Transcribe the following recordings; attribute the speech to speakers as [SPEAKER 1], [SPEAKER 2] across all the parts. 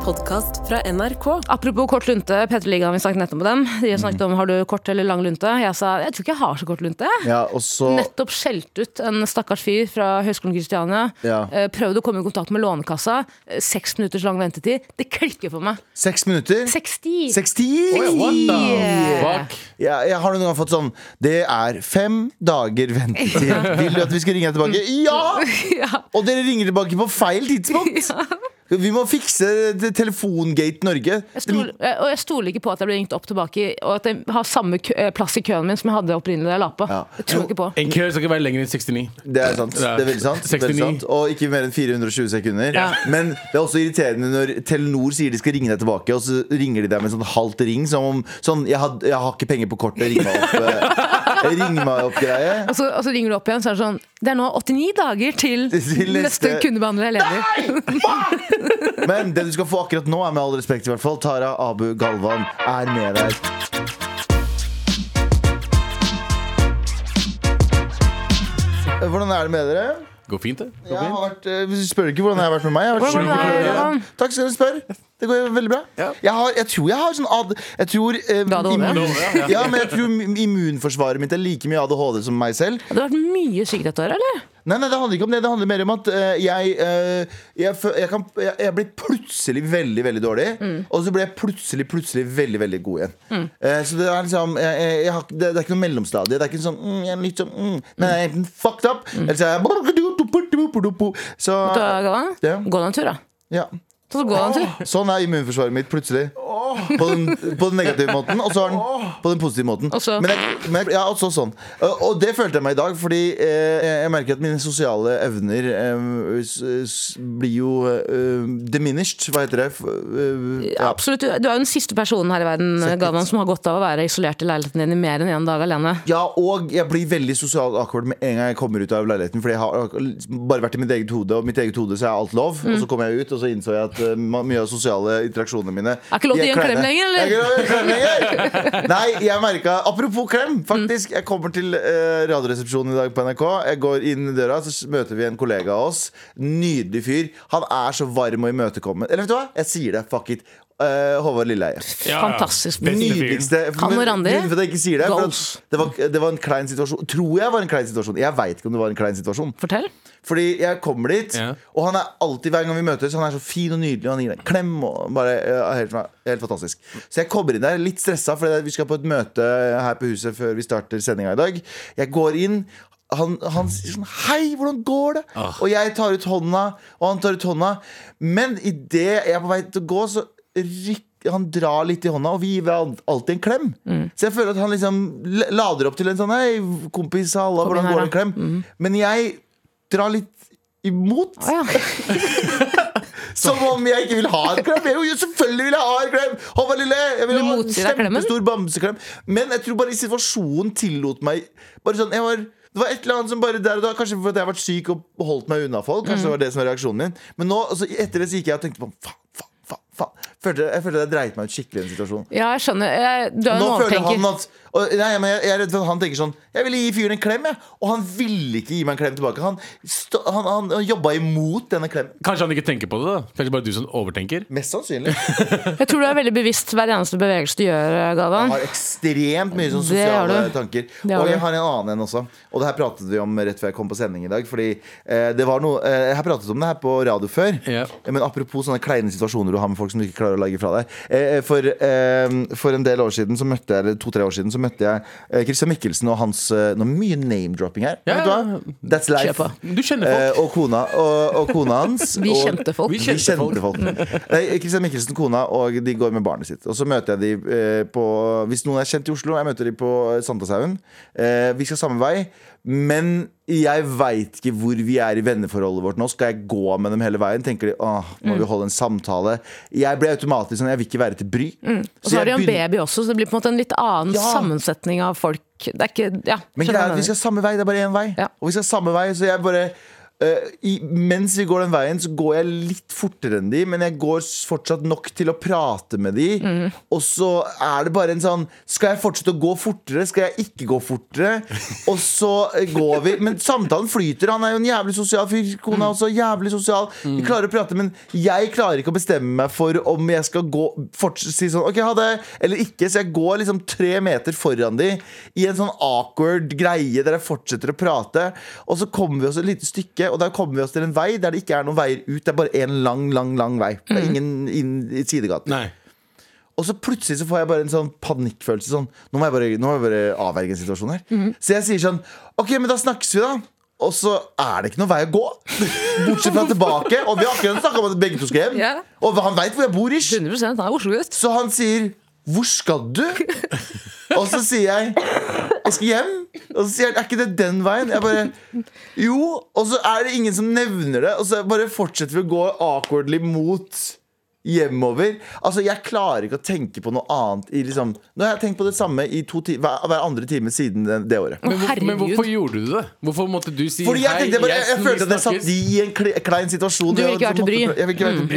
[SPEAKER 1] podkast fra NRK.
[SPEAKER 2] Apropos kort lunte, P3-ligaen, vi snakket nettopp om den. De snakket om har du kort eller lang lunte. Jeg sa jeg tror ikke jeg har så kort lunte. jeg».
[SPEAKER 3] Ja, og så
[SPEAKER 2] Nettopp skjelt ut en stakkars fyr fra Høgskolen Kristiania.
[SPEAKER 3] Ja.
[SPEAKER 2] Eh, Prøvd å komme i kontakt med Lånekassa. Eh, Seks minutters lang ventetid. Det klikker for meg.
[SPEAKER 3] seks minutter.
[SPEAKER 2] 60!
[SPEAKER 3] 60!
[SPEAKER 2] Yeah.
[SPEAKER 4] Fuck.
[SPEAKER 3] Ja, jeg har noen gang fått sånn Det er fem dager ventetid. Vil du at vi skal ringe deg tilbake? Ja!
[SPEAKER 2] Ja.
[SPEAKER 3] Og dere ringer tilbake på feil tidspunkt! Vi må fikse det- Telefongate Norge.
[SPEAKER 2] Jeg stol, eh, og jeg stoler ikke på at jeg blir ringt opp tilbake, i- og at jeg har samme kø, eh, plass i køen min som jeg hadde opprinnelig da jeg la på.
[SPEAKER 3] Ja.
[SPEAKER 2] Jeg tror ikke på.
[SPEAKER 4] En kø skal ikke være lenger enn 69.
[SPEAKER 3] Det er sant.
[SPEAKER 4] Det er
[SPEAKER 3] Det er veldig sant. Veldig
[SPEAKER 4] 69.
[SPEAKER 3] sant. Og ikke mer enn 420 sekunder.
[SPEAKER 4] Ja.
[SPEAKER 3] Men det er også irriterende når Telenor sier de skal ringe deg tilbake, og så ringer de deg med en sånn halvt ring. Som om sånn jeg har, 'Jeg har ikke penger på kortet, ring meg opp'. eh, Ring meg opp-greie.
[SPEAKER 2] Og så, og så Altså, ringer du opp igjen, så er det sånn Det er nå 89 dager til,
[SPEAKER 3] Til
[SPEAKER 2] neste
[SPEAKER 3] neste-
[SPEAKER 2] kundebehandler er ledig.
[SPEAKER 3] Men det du skal få akkurat nå, er med all respekt i hvert fall Tara Abu Galvan er med deg. Eh, Hvordan er det med dere?
[SPEAKER 4] Går fint, det. Går
[SPEAKER 3] Jeg har
[SPEAKER 4] fint.
[SPEAKER 3] vært, eh, hvis du spør ikke hvordan jeg har vært med meg. Jeg har vært
[SPEAKER 2] Hvordan er
[SPEAKER 3] sjukt
[SPEAKER 2] det,
[SPEAKER 3] fornøyd.
[SPEAKER 2] Galvan?
[SPEAKER 3] Takk skal du spørre. Det går veldig bra. Jeg, har, jeg tror jeg har sånn ad... Jeg tror, eh,
[SPEAKER 2] Du har ADHD?
[SPEAKER 3] immun- ja, men jeg tror immunforsvaret mitt er like mye ADHD som meg selv.
[SPEAKER 2] Det har vært mye syk dette året, eller?
[SPEAKER 3] Nei, nei, det handler ikke om det. Det handler mer om at eh, jeg, eh, jeg, fø- jeg, kan, jeg, jeg blir plutselig veldig, veldig dårlig. Og så blir jeg plutselig, plutselig veldig, veldig god igjen. Eh, så det er liksom jeg, jeg, jeg har, ikke- det, det er ikke noe mellomstadie. Det er ikke sånn mm, jeg er litt sånn mm. Nei, jeg er enten fucked up, eller så er jeg Så
[SPEAKER 2] Da, Galvan?
[SPEAKER 3] Ja.
[SPEAKER 2] Gå deg en tur, da.
[SPEAKER 3] ja.
[SPEAKER 2] Så gå deg en tur.
[SPEAKER 3] Sånn er immunforsvaret mitt plutselig. På, den, på den negative måten, og så har den på den positive måten.
[SPEAKER 2] Og så-
[SPEAKER 3] Men jeg, men jeg, ja, og så sånn. Og og det følte jeg meg i dag, fordi eh, jeg merker at mine sosiale evner eh, s, s, blir jo eh, diminished. Hva heter det? F- eh, ja.
[SPEAKER 2] Absolutt. Du du er jo den siste personen her i verden Galvan, som har godt av å være isolert i leiligheten din i mer enn én dag alene.
[SPEAKER 3] ja, og jeg blir veldig sosialt awkward med en gang jeg kommer ut av leiligheten. Fordi jeg har bare vært i mitt eget hode, og mitt eget hode så er alt lov.
[SPEAKER 2] Mm.
[SPEAKER 3] Og så kom jeg ut, og så innså jeg at eh, ma- mye av sosiale interaksjonene mine
[SPEAKER 2] Er ikke lov til å
[SPEAKER 3] de
[SPEAKER 2] gi en klem
[SPEAKER 3] kleine.
[SPEAKER 2] lenger, eller?
[SPEAKER 3] Det er ikke lov til å gi en klem lenger! Nei, jeg merka Apropos klem,
[SPEAKER 2] Mm.
[SPEAKER 3] faktisk. Jeg kommer til eh, Radioresepsjonen i dag på NRK. Jeg går inn døra, så s- møter vi en kollega av oss. Nydelig fyr. Han er så varm og imøtekommen. Eller vet du hva? Jeg sier det. Fuck it. Eh, Håvard Lilleheie.
[SPEAKER 4] Ja, ja.
[SPEAKER 2] Fantastisk.
[SPEAKER 4] Beste fyren.
[SPEAKER 3] Nydeligste
[SPEAKER 2] Han og Randi?
[SPEAKER 3] Grunnen for at jeg ikke sier det, er for at
[SPEAKER 2] Goals.
[SPEAKER 3] det var, det var en klein situasjon. Tror jeg var en klein situasjon. Jeg veit ikke om det var en klein situasjon.
[SPEAKER 2] Fortell.
[SPEAKER 3] Fordi jeg kommer dit,
[SPEAKER 4] Ja.
[SPEAKER 3] og han er alltid hver gang vi møtes, han er så fin og nydelig. Og han gir deg en klem og bare ja, helt, helt fantastisk. Så jeg kommer inn der litt stressa, for vi skal på et møte her på huset før vi starter sendinga i dag. Jeg går inn. Han, han sier sånn Hei, hvordan går det? Og jeg tar ut hånda, og han tar ut hånda. Men idet jeg er på vei til å gå, så rykker han drar litt i hånda, og vi gir hverandre alltid en klem.
[SPEAKER 2] Mm.
[SPEAKER 3] Så jeg føler at han liksom l- lader opp til en sånn Hei, kompis, halla,
[SPEAKER 2] Kom inn her,
[SPEAKER 3] hvordan
[SPEAKER 2] Mm.
[SPEAKER 3] går det? En klem. Men jeg dra litt imot.
[SPEAKER 2] Å ja.
[SPEAKER 3] Som om jeg ikke vil ha en klem. Jeg, jo, selvfølgelig vil jeg ha en klem! Håvard Lille! Jeg vil
[SPEAKER 2] Du
[SPEAKER 3] ha en
[SPEAKER 2] motsier deg klemmen?
[SPEAKER 3] kjempestor bamseklem. Men jeg tror bare situasjonen tillot meg Bare sånn, jeg var det var et eller annet som bare der og da Kanskje fordi jeg har vært syk og holdt meg unna folk. Kanskje
[SPEAKER 2] Mm.
[SPEAKER 3] det var det som var reaksjonen min Men nå, altså, etter det så gikk jeg og tenkte på faen, faen, faen. faen. Følte, jeg følte jeg dreit meg ut skikkelig i den situasjonen.
[SPEAKER 2] ja, jeg skjønner. Jeg, du er
[SPEAKER 3] Nå
[SPEAKER 2] en
[SPEAKER 3] føler han
[SPEAKER 2] overtenker.
[SPEAKER 3] at og, nei, men jeg, jeg er redd for at han tenker sånn Jeg ville gi fyren en klem, jeg. Og han ville ikke gi meg en klem tilbake. Han, stå- han, han, han jobba imot denne klemmen.
[SPEAKER 4] Kanskje han ikke tenker på det. da Kanskje bare du som overtenker.
[SPEAKER 3] Mest sannsynlig.
[SPEAKER 2] Jeg tror du er veldig bevisst hver eneste bevegelse du gjør,
[SPEAKER 3] Jeg
[SPEAKER 2] Galvan.
[SPEAKER 3] har ekstremt mye sånn
[SPEAKER 2] Det har
[SPEAKER 3] sosiale
[SPEAKER 2] du.
[SPEAKER 3] tanker.
[SPEAKER 2] Det har
[SPEAKER 3] Og
[SPEAKER 2] du.
[SPEAKER 3] jeg har en annen en også. Og det her pratet vi om rett før jeg kom på sending i dag. Fordi eh, det var noe eh, Jeg har pratet om det her på radio før.
[SPEAKER 4] Ja.
[SPEAKER 3] Men apropos sånne kleine situasjoner du har med folk som du ikke klarer å legge fra deg. Eh, for, eh, for en del år siden, så møtte jeg eller to-tre år siden, så møtte jeg eh, Christian Mikkelsen og hans eh, Nå er det mye name-dropping her.
[SPEAKER 4] Ja,
[SPEAKER 3] Vet du hva? That's
[SPEAKER 2] Kjør på.
[SPEAKER 3] life.
[SPEAKER 4] Du kjenner folk.
[SPEAKER 3] Eh, og, kona, og, og kona hans.
[SPEAKER 2] Vi
[SPEAKER 3] og,
[SPEAKER 2] kjente folk.
[SPEAKER 4] Vi
[SPEAKER 3] vi kjente folk. Mm. Nei, Christian Mikkelsen, kona, og de går med barnet sitt. Og så møter jeg de eh, på Hvis noen er kjent i Oslo, jeg møter de på Sandashaugen. Eh, vi skal samme vei, men jeg veit ikke hvor vi er i venneforholdet vårt nå. Skal jeg gå med dem hele veien? Tenker de åh, må
[SPEAKER 2] Mm.
[SPEAKER 3] vi holde en samtale? Jeg blir automatisk sånn, jeg vil ikke være til bry.
[SPEAKER 2] Mm. Og så har de
[SPEAKER 3] jeg
[SPEAKER 2] jo en
[SPEAKER 3] begynner-
[SPEAKER 2] baby også, så det blir på en måte en litt annen
[SPEAKER 3] Ja.
[SPEAKER 2] sammensetning av folk. Det er ikke, ja,
[SPEAKER 3] Men
[SPEAKER 2] skjønner
[SPEAKER 3] greia er
[SPEAKER 2] hva
[SPEAKER 3] at vi
[SPEAKER 2] jeg
[SPEAKER 3] skal samme vei, det er bare én vei.
[SPEAKER 2] Ja.
[SPEAKER 3] Og vi skal samme vei, så jeg bare eh, i, mens vi går den veien, så går jeg litt fortere enn de, men jeg går s- fortsatt nok til å prate med de. Og så er det bare en sånn Skal jeg fortsette å gå fortere? Skal jeg ikke gå fortere? Og så eh, går vi. Men samtalen flyter. Han er jo en jævlig sosial fyr. Kona er også jævlig sosial. Vi klarer å prate, men jeg klarer ikke å bestemme meg for om jeg skal gå forts- si sånn OK, ha det, eller ikke. Så jeg går liksom tre meter foran de i en sånn awkward greie der jeg fortsetter å prate. Og så kommer vi oss et lite stykke, og der kommer vi oss til en vei der det ikke er noen veier ut. Det er bare en lang, lang, lang vei. Det er ingen inn i sidegaten.
[SPEAKER 4] Nei.
[SPEAKER 3] Og så plutselig så får jeg bare en sånn panikkfølelse. Sånn, nå må jeg bare, nå må jeg bare avverge en situasjon her. Så jeg sier sånn Ok, men da snakkes vi, da. Og så er det ikke noen vei å gå. Bortsett fra tilbake. Og vi har akkurat snakka om at begge to skal hjem.
[SPEAKER 2] Ja.
[SPEAKER 3] Og han veit hvor jeg bor, ish.
[SPEAKER 2] 100 han er Oslo-gutt.
[SPEAKER 3] Så han sier 'Hvor skal du?' Og så sier jeg 'Jeg skal hjem'. Og så sier han 'Er ikke det den veien?' Jeg bare Jo. Og så er det ingen som nevner det. Og så bare fortsetter vi å gå awkwardly mot hjemover. Altså, jeg klarer ikke å tenke på noe annet i liksom Nå har jeg tenkt på det samme i to ti hver, hver andre time siden det, det året.
[SPEAKER 4] Men, hvor, men
[SPEAKER 2] herregud.
[SPEAKER 4] hvorfor gjorde du det? Hvorfor måtte du si
[SPEAKER 3] Fordi jeg
[SPEAKER 4] «Hei,
[SPEAKER 3] tenkte bare, jeg, jeg
[SPEAKER 4] Jensen,
[SPEAKER 3] følte at
[SPEAKER 4] vi
[SPEAKER 3] jeg satt
[SPEAKER 4] snakkes»?
[SPEAKER 3] de i en kle- klein situasjon.
[SPEAKER 2] Du vil
[SPEAKER 3] og
[SPEAKER 2] ikke være til
[SPEAKER 3] måtte
[SPEAKER 2] bry. Mm.
[SPEAKER 3] prø- Jeg vil ikke være til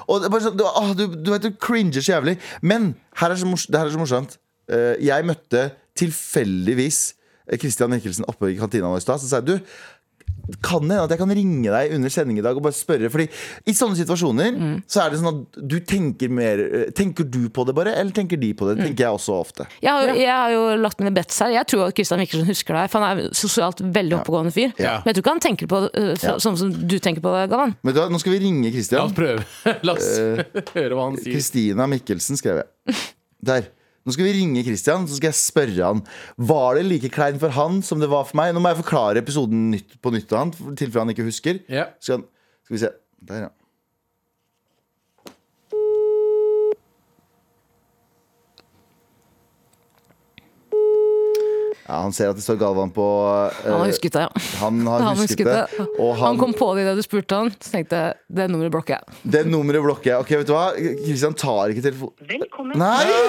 [SPEAKER 3] bry. Og det er bare sånn, du, ah, du, du vet, du cringer så jævlig. Men her er så mors- det her er så morsomt. Eh, jeg møtte tilfeldigvis eh, Christian Mikkelsen oppe i kantina nå i stad. Så sa jeg du kan det hende at jeg kan ringe deg under sending i dag og bare spørre? Fordi i sånne situasjoner
[SPEAKER 2] Mm.
[SPEAKER 3] så er det sånn at du tenker mer eh, Tenker du på det bare, eller tenker de på
[SPEAKER 2] Mm.
[SPEAKER 3] det? Det tenker jeg også ofte.
[SPEAKER 2] Jeg har, jo- jeg har jo lagt mine bets her. Jeg tror at Kristian Mikkelsen husker deg, for han er en sosialt veldig oppegående fyr.
[SPEAKER 4] Ja.
[SPEAKER 2] Men jeg tror ikke han tenker på det øh, så,
[SPEAKER 3] Ja.
[SPEAKER 2] sånn som du tenker på det, Galvan.
[SPEAKER 3] Men da, nå skal vi ringe
[SPEAKER 4] La
[SPEAKER 3] Christian.
[SPEAKER 4] oss prøve. La oss høre hva han sier.
[SPEAKER 3] Kristina Mikkelsen skrev jeg. Der. Nå skal vi ringe Christian, så skal jeg spørre han. Var det like klein for han som det var for meg? Nå må jeg forklare episoden nytt på nytt til han, i tilfelle han ikke husker.
[SPEAKER 4] Ja.
[SPEAKER 3] Skal, han, skal vi se. Der, ja. Ja, Han ser at det står Galvan på eh,
[SPEAKER 2] Han har husket det, ja.
[SPEAKER 3] han har
[SPEAKER 2] Han
[SPEAKER 3] husket
[SPEAKER 2] husket
[SPEAKER 3] det.
[SPEAKER 2] det.
[SPEAKER 3] Og
[SPEAKER 2] Han
[SPEAKER 3] han,
[SPEAKER 2] kom på det da du spurte han, så tenkte jeg det nummeret blokker jeg.
[SPEAKER 3] det nummeret blokker jeg. Ok, vet du hva? Christian tar ikke telefonen.
[SPEAKER 1] Velkommen.
[SPEAKER 3] Nei!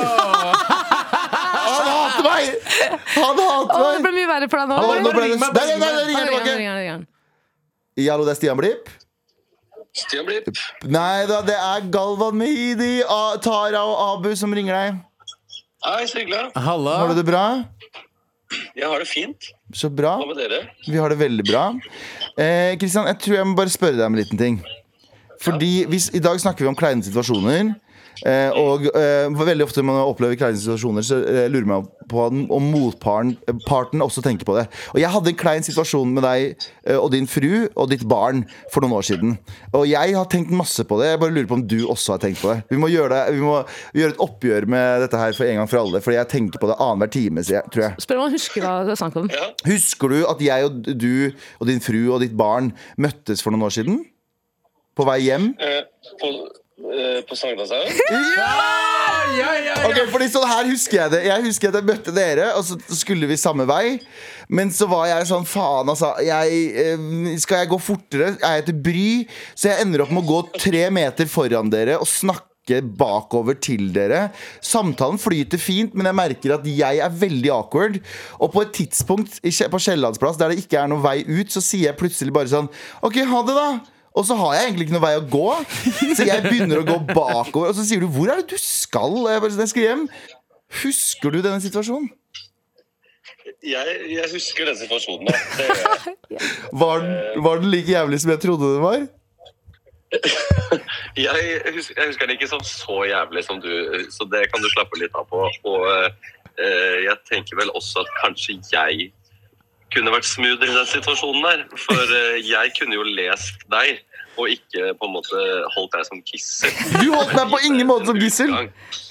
[SPEAKER 3] Han hater meg! Han
[SPEAKER 2] Å, det
[SPEAKER 3] hater meg!
[SPEAKER 2] ble mye verre for deg nå.
[SPEAKER 3] Å, nå ble det-
[SPEAKER 4] Ring meg,
[SPEAKER 3] Der, der, der,
[SPEAKER 2] Nei,
[SPEAKER 3] der ringer jeg
[SPEAKER 2] ringer han,
[SPEAKER 3] tilbake.
[SPEAKER 2] ringer han, ringer han.
[SPEAKER 3] Ja, Hallo, det er Stian Blipp.
[SPEAKER 5] Stian Blipp.
[SPEAKER 3] Nei da, det er Galvan Mehidi, A- Tara og Abu som ringer deg.
[SPEAKER 5] Hei, så hyggelig.
[SPEAKER 4] Halla.
[SPEAKER 3] Har du det bra?
[SPEAKER 5] Jeg har det fint.
[SPEAKER 3] Så bra.
[SPEAKER 5] Hva med dere?
[SPEAKER 3] Vi har det veldig bra. Eh, Kristian, jeg tror jeg må bare spørre deg om en liten ting. Fordi hvis, I dag snakker vi om kleine situasjoner. Eh, og eh, veldig ofte når man opplever kleine situasjoner, så eh, lurer man på om- om motparten parten også tenker på det. Og Jeg hadde en klein situasjon med deg eh, og din fru og ditt barn for noen år siden. Og jeg har tenkt masse på det. Jeg bare lurer på om du også har tenkt på det. Vi må gjøre, det, vi må gjøre et oppgjør med dette her for en gang for alle, Fordi jeg tenker på det annenhver time, sier jeg- tror jeg.
[SPEAKER 2] Spør om han husker hva det er snakk om.
[SPEAKER 5] Ja,
[SPEAKER 3] Husker du at jeg og du og din fru og ditt barn møttes for noen år siden? På vei hjem?
[SPEAKER 5] eh, på, eh, på Sagnashaugen?
[SPEAKER 4] Ja, ja, ja.
[SPEAKER 3] Ok, fordi sånn her husker jeg det Jeg husker at jeg møtte dere, og så skulle vi samme vei. Men så var jeg sånn faen, altså. Jeg, eh, skal jeg gå fortere? Er jeg til bry? Så jeg ender opp med å gå tre meter foran dere og snakke. Bakover til dere Samtalen flyter fint, men jeg merker at jeg er veldig awkward. Og på et tidspunkt i Kje- på Kiellandsplass der det ikke er noen vei ut, så sier jeg plutselig bare sånn OK, ha det, da. Og så har jeg egentlig ikke noen vei å gå. Så jeg begynner å gå bakover. Og så sier du 'Hvor er det du skal?' Og jeg bare sånn, jeg skal hjem. Husker du denne situasjonen?
[SPEAKER 5] Jeg, jeg husker den situasjonen. da. Det gjør jeg.
[SPEAKER 3] Var den, var den like jævlig som jeg trodde den var?
[SPEAKER 5] Jeg husker, jeg husker den ikke som så jævlig som du, så det kan du slappe litt av på. Og eh, jeg tenker vel også at kanskje jeg kunne vært smoother i den situasjonen der. For eh, jeg kunne jo lest deg, og ikke på en måte holdt deg som gissel.
[SPEAKER 3] Du holdt meg på ingen måte som gissel.
[SPEAKER 5] Eh,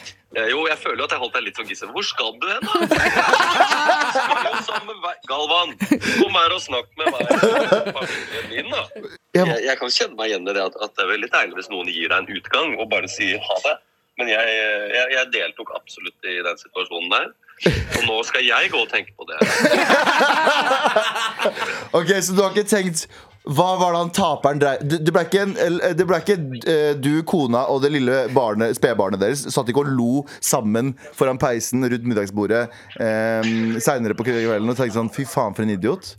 [SPEAKER 5] Jo, jeg føler jo at jeg holdt deg litt som gissel. Hvor skal du hen, da? Du skal jo samme vei. Galvan, kom her og snakk med meg. og familien Min, da. Jeg, jeg kan kjenne meg igjen i det at, at det er veldig deilig hvis noen gir deg en utgang og bare sier ha det. Men jeg, jeg, jeg deltok absolutt i den situasjonen der. Og nå skal jeg gå og tenke på det.
[SPEAKER 3] Ok, Så du har ikke tenkt hva var det han taperen drev Det det ble ikke, en, eller, det ble ikke eh, du, kona og det lille barnet, spedbarnet deres satt ikke og lo sammen foran peisen rundt middagsbordet eh, seinere på kvelden og tenkte sånn Fy faen, for en idiot.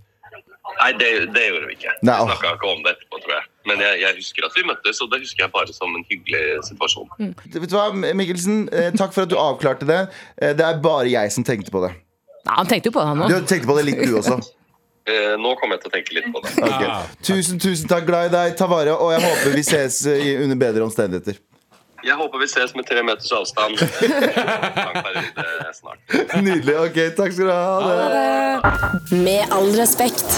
[SPEAKER 5] Nei, det, det gjorde vi ikke. Vi
[SPEAKER 3] Nei, åh.
[SPEAKER 5] snakka ikke om det etterpå, tror jeg. Men jeg, jeg husker at vi møttes, og det husker jeg bare som en hyggelig situasjon.
[SPEAKER 3] Vet du hva, Mikkelsen, eh, takk for at du avklarte det. Eh, Det er bare jeg som tenkte på det.
[SPEAKER 2] Nei, han tenkte jo på det, han
[SPEAKER 3] Du
[SPEAKER 2] òg.
[SPEAKER 3] tenkte på det litt, du også.
[SPEAKER 5] Eh, nå kommer jeg til å tenke litt på det.
[SPEAKER 3] Ok. Tusen, tusen takk. Glad i deg. Ta vare. Og jeg håper vi ses eh, i- under bedre omstendigheter.
[SPEAKER 5] Jeg håper vi ses med tre meters avstand. Lang periode snart.
[SPEAKER 3] Nydelig. Ok, takk skal du ha. Ha det.
[SPEAKER 1] Med all respekt.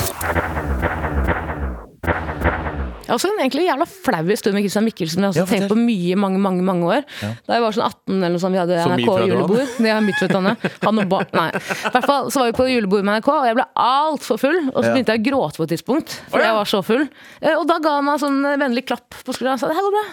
[SPEAKER 2] Jeg er også en egentlig jævla flau historie med Christian Mikkelsen. men Jeg har også
[SPEAKER 3] Ja,
[SPEAKER 2] tenkt på mye, mange mange, mange år. Da jeg var sånn 18 eller noe sånt, vi hadde
[SPEAKER 4] Så
[SPEAKER 2] NRK-julebord. Ja, midtvettane. Han og bar... Nei. I hvert fall så var vi på julebord med NRK, og jeg ble altfor full. Og så
[SPEAKER 3] Ja.
[SPEAKER 2] begynte jeg å gråte på et tidspunkt, for jeg var så full. Eh, Og da ga han meg en sånn eh, vennlig klapp på skulderen og sa det her går bra.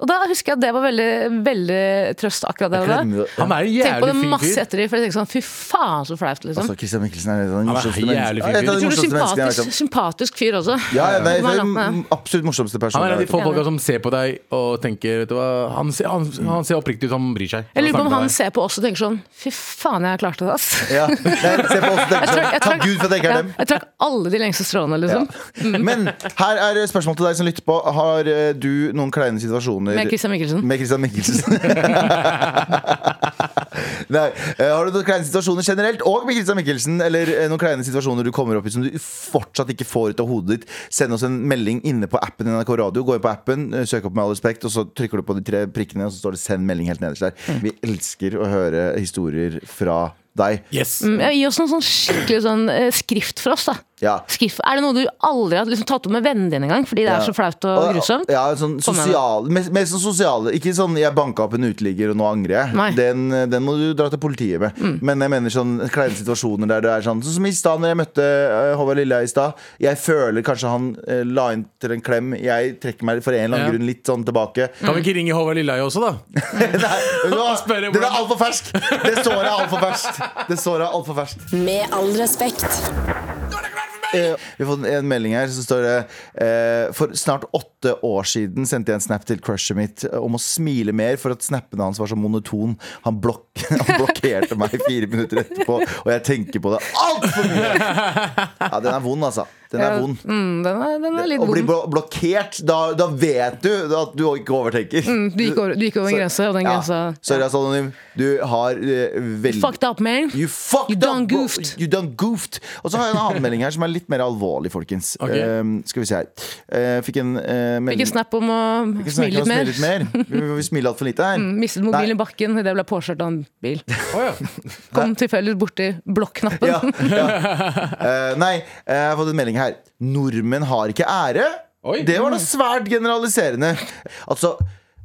[SPEAKER 2] Og da husker jeg at det var veldig, veldig trøst, akkurat det. der.
[SPEAKER 3] Klemmer.
[SPEAKER 4] Han er en
[SPEAKER 2] Tenk på det
[SPEAKER 4] jævlig fin
[SPEAKER 2] masse
[SPEAKER 4] fyr.
[SPEAKER 2] etter det, for jeg tenker sånn fy faen så flaut, liksom.
[SPEAKER 3] Altså, Christian Mikkelsen er et av de
[SPEAKER 4] Han er
[SPEAKER 3] morsomste
[SPEAKER 4] jævlig
[SPEAKER 3] menneskene-
[SPEAKER 4] fin
[SPEAKER 3] Ja, et av de
[SPEAKER 4] fyr.
[SPEAKER 2] Tror du
[SPEAKER 3] morsomste menneskene jeg har
[SPEAKER 2] sympatisk,
[SPEAKER 3] vært om.
[SPEAKER 2] sympatisk fyr også?
[SPEAKER 3] Ja, ja,
[SPEAKER 2] Som er
[SPEAKER 3] nei, det er
[SPEAKER 2] langt med.
[SPEAKER 3] den absolutt morsomste
[SPEAKER 4] Han
[SPEAKER 3] personen.
[SPEAKER 4] er en av
[SPEAKER 3] jeg
[SPEAKER 4] de
[SPEAKER 3] vet om.
[SPEAKER 4] få folka som ser på deg og tenker vet du hva, han ser, han, han ser oppriktig ut, han bryr seg.
[SPEAKER 2] Jeg lurer på om han
[SPEAKER 4] snakker med deg.
[SPEAKER 2] ser på oss og tenker sånn Fy faen, jeg klarte det, ass.
[SPEAKER 3] Ja. Nei, se på oss, tenker
[SPEAKER 2] Jeg
[SPEAKER 3] sånn. Takk Gud for at jeg
[SPEAKER 2] ja,
[SPEAKER 3] ikke er dem.
[SPEAKER 2] jeg trakk alle de lengste strålene, liksom.
[SPEAKER 3] Men her er spørsmålet til deg som lytter på. Har eh, du noen kleine situasjoner
[SPEAKER 2] Med Christian Mikkelsen.
[SPEAKER 3] Med Christian Mikkelsen. Nei, eh, har du noen kleine situasjoner generelt, og med Christian Mikkelsen, eller eh, noen kleine situasjoner du kommer opp i som du fortsatt ikke får ut av hodet ditt, send oss en melding inne på appen NRK Radio. Gå inn på appen, eh, søk opp Med all respekt, og så trykker du på de tre prikkene, og så står det 'send melding' helt nederst der. Vi elsker å høre historier fra deg.
[SPEAKER 4] Yes.
[SPEAKER 2] Mm, ja, Gi oss noen sånn skikkelig sånn eh, skrift for oss, da.
[SPEAKER 3] Ja.
[SPEAKER 2] Skrift. Er det noe du aldri har liksom, tatt opp med vennen din engang fordi det er så flaut og grusomt?
[SPEAKER 3] Ja, sånn
[SPEAKER 2] Kom igjen.
[SPEAKER 3] sosial, mest, mest sånn sosiale. Ikke sånn 'jeg banka opp en uteligger, og nå angrer
[SPEAKER 2] Nei. Mm.
[SPEAKER 3] jeg'. Den, den må du dra til politiet med. Men jeg mener sånn kleine situasjoner der det er sånn Sånn som i stad, når jeg møtte eh, Håvard Lilleheie i stad. Jeg føler kanskje han eh, la inn til en klem. Jeg trekker meg for en eller annen
[SPEAKER 4] Ja.
[SPEAKER 3] grunn litt sånn tilbake.
[SPEAKER 4] Kan vi ikke ringe Håvard Lilleheie også, da?
[SPEAKER 3] Nei, vet du hva?
[SPEAKER 4] spørre
[SPEAKER 3] Den
[SPEAKER 4] hvordan-
[SPEAKER 3] er altfor fersk! Det såret er altfor ferskt. Det såret er altfor ferskt.
[SPEAKER 1] Med all respekt.
[SPEAKER 3] Eh, Vi har fått en melding her som står det eh, For snart åtte år siden sendte jeg en snap til crushet mitt eh, om å smile mer for at snappene hans var så monoton. Han, blok han blokkerte meg fire minutter etterpå, og jeg tenker på det altfor mye! Ja, den er vond, altså. Den er vond.
[SPEAKER 2] Mm, den, er, den er litt
[SPEAKER 3] Å bli
[SPEAKER 2] vond.
[SPEAKER 3] blo blokkert, da, da vet du at du ikke overtenker.
[SPEAKER 2] Mm, Du gikk over, du gikk over en grense, og den
[SPEAKER 3] Ja.
[SPEAKER 2] grensa
[SPEAKER 3] Sorry, altså, Anonym. Du har eh, veldig
[SPEAKER 2] Fucked up, man!
[SPEAKER 3] You fucked
[SPEAKER 2] You done
[SPEAKER 3] up, bro.
[SPEAKER 2] goofed.
[SPEAKER 3] You done goofed. Og så har jeg en annen melding her som er litt mer alvorlig, folkens.
[SPEAKER 4] Ok.
[SPEAKER 3] Ehm, skal vi se her. Eh, fikk en eh, melding
[SPEAKER 2] Fikk en snap om å
[SPEAKER 3] Fikk en snap om
[SPEAKER 2] smile
[SPEAKER 3] å
[SPEAKER 2] litt mer. Mm.
[SPEAKER 3] mer. Vi, vi smiler altfor lite her.
[SPEAKER 2] Mistet mobilen i bakken idet jeg ble påkjørt av en bil.
[SPEAKER 4] Å, ja.
[SPEAKER 2] Kom tilfeldigvis borti blokknappen.
[SPEAKER 3] Ja, ja. Eh, nei, eh, jeg har fått en melding her. Nordmenn har ikke ære.
[SPEAKER 4] Oi.
[SPEAKER 3] Det var da svært generaliserende. Altså,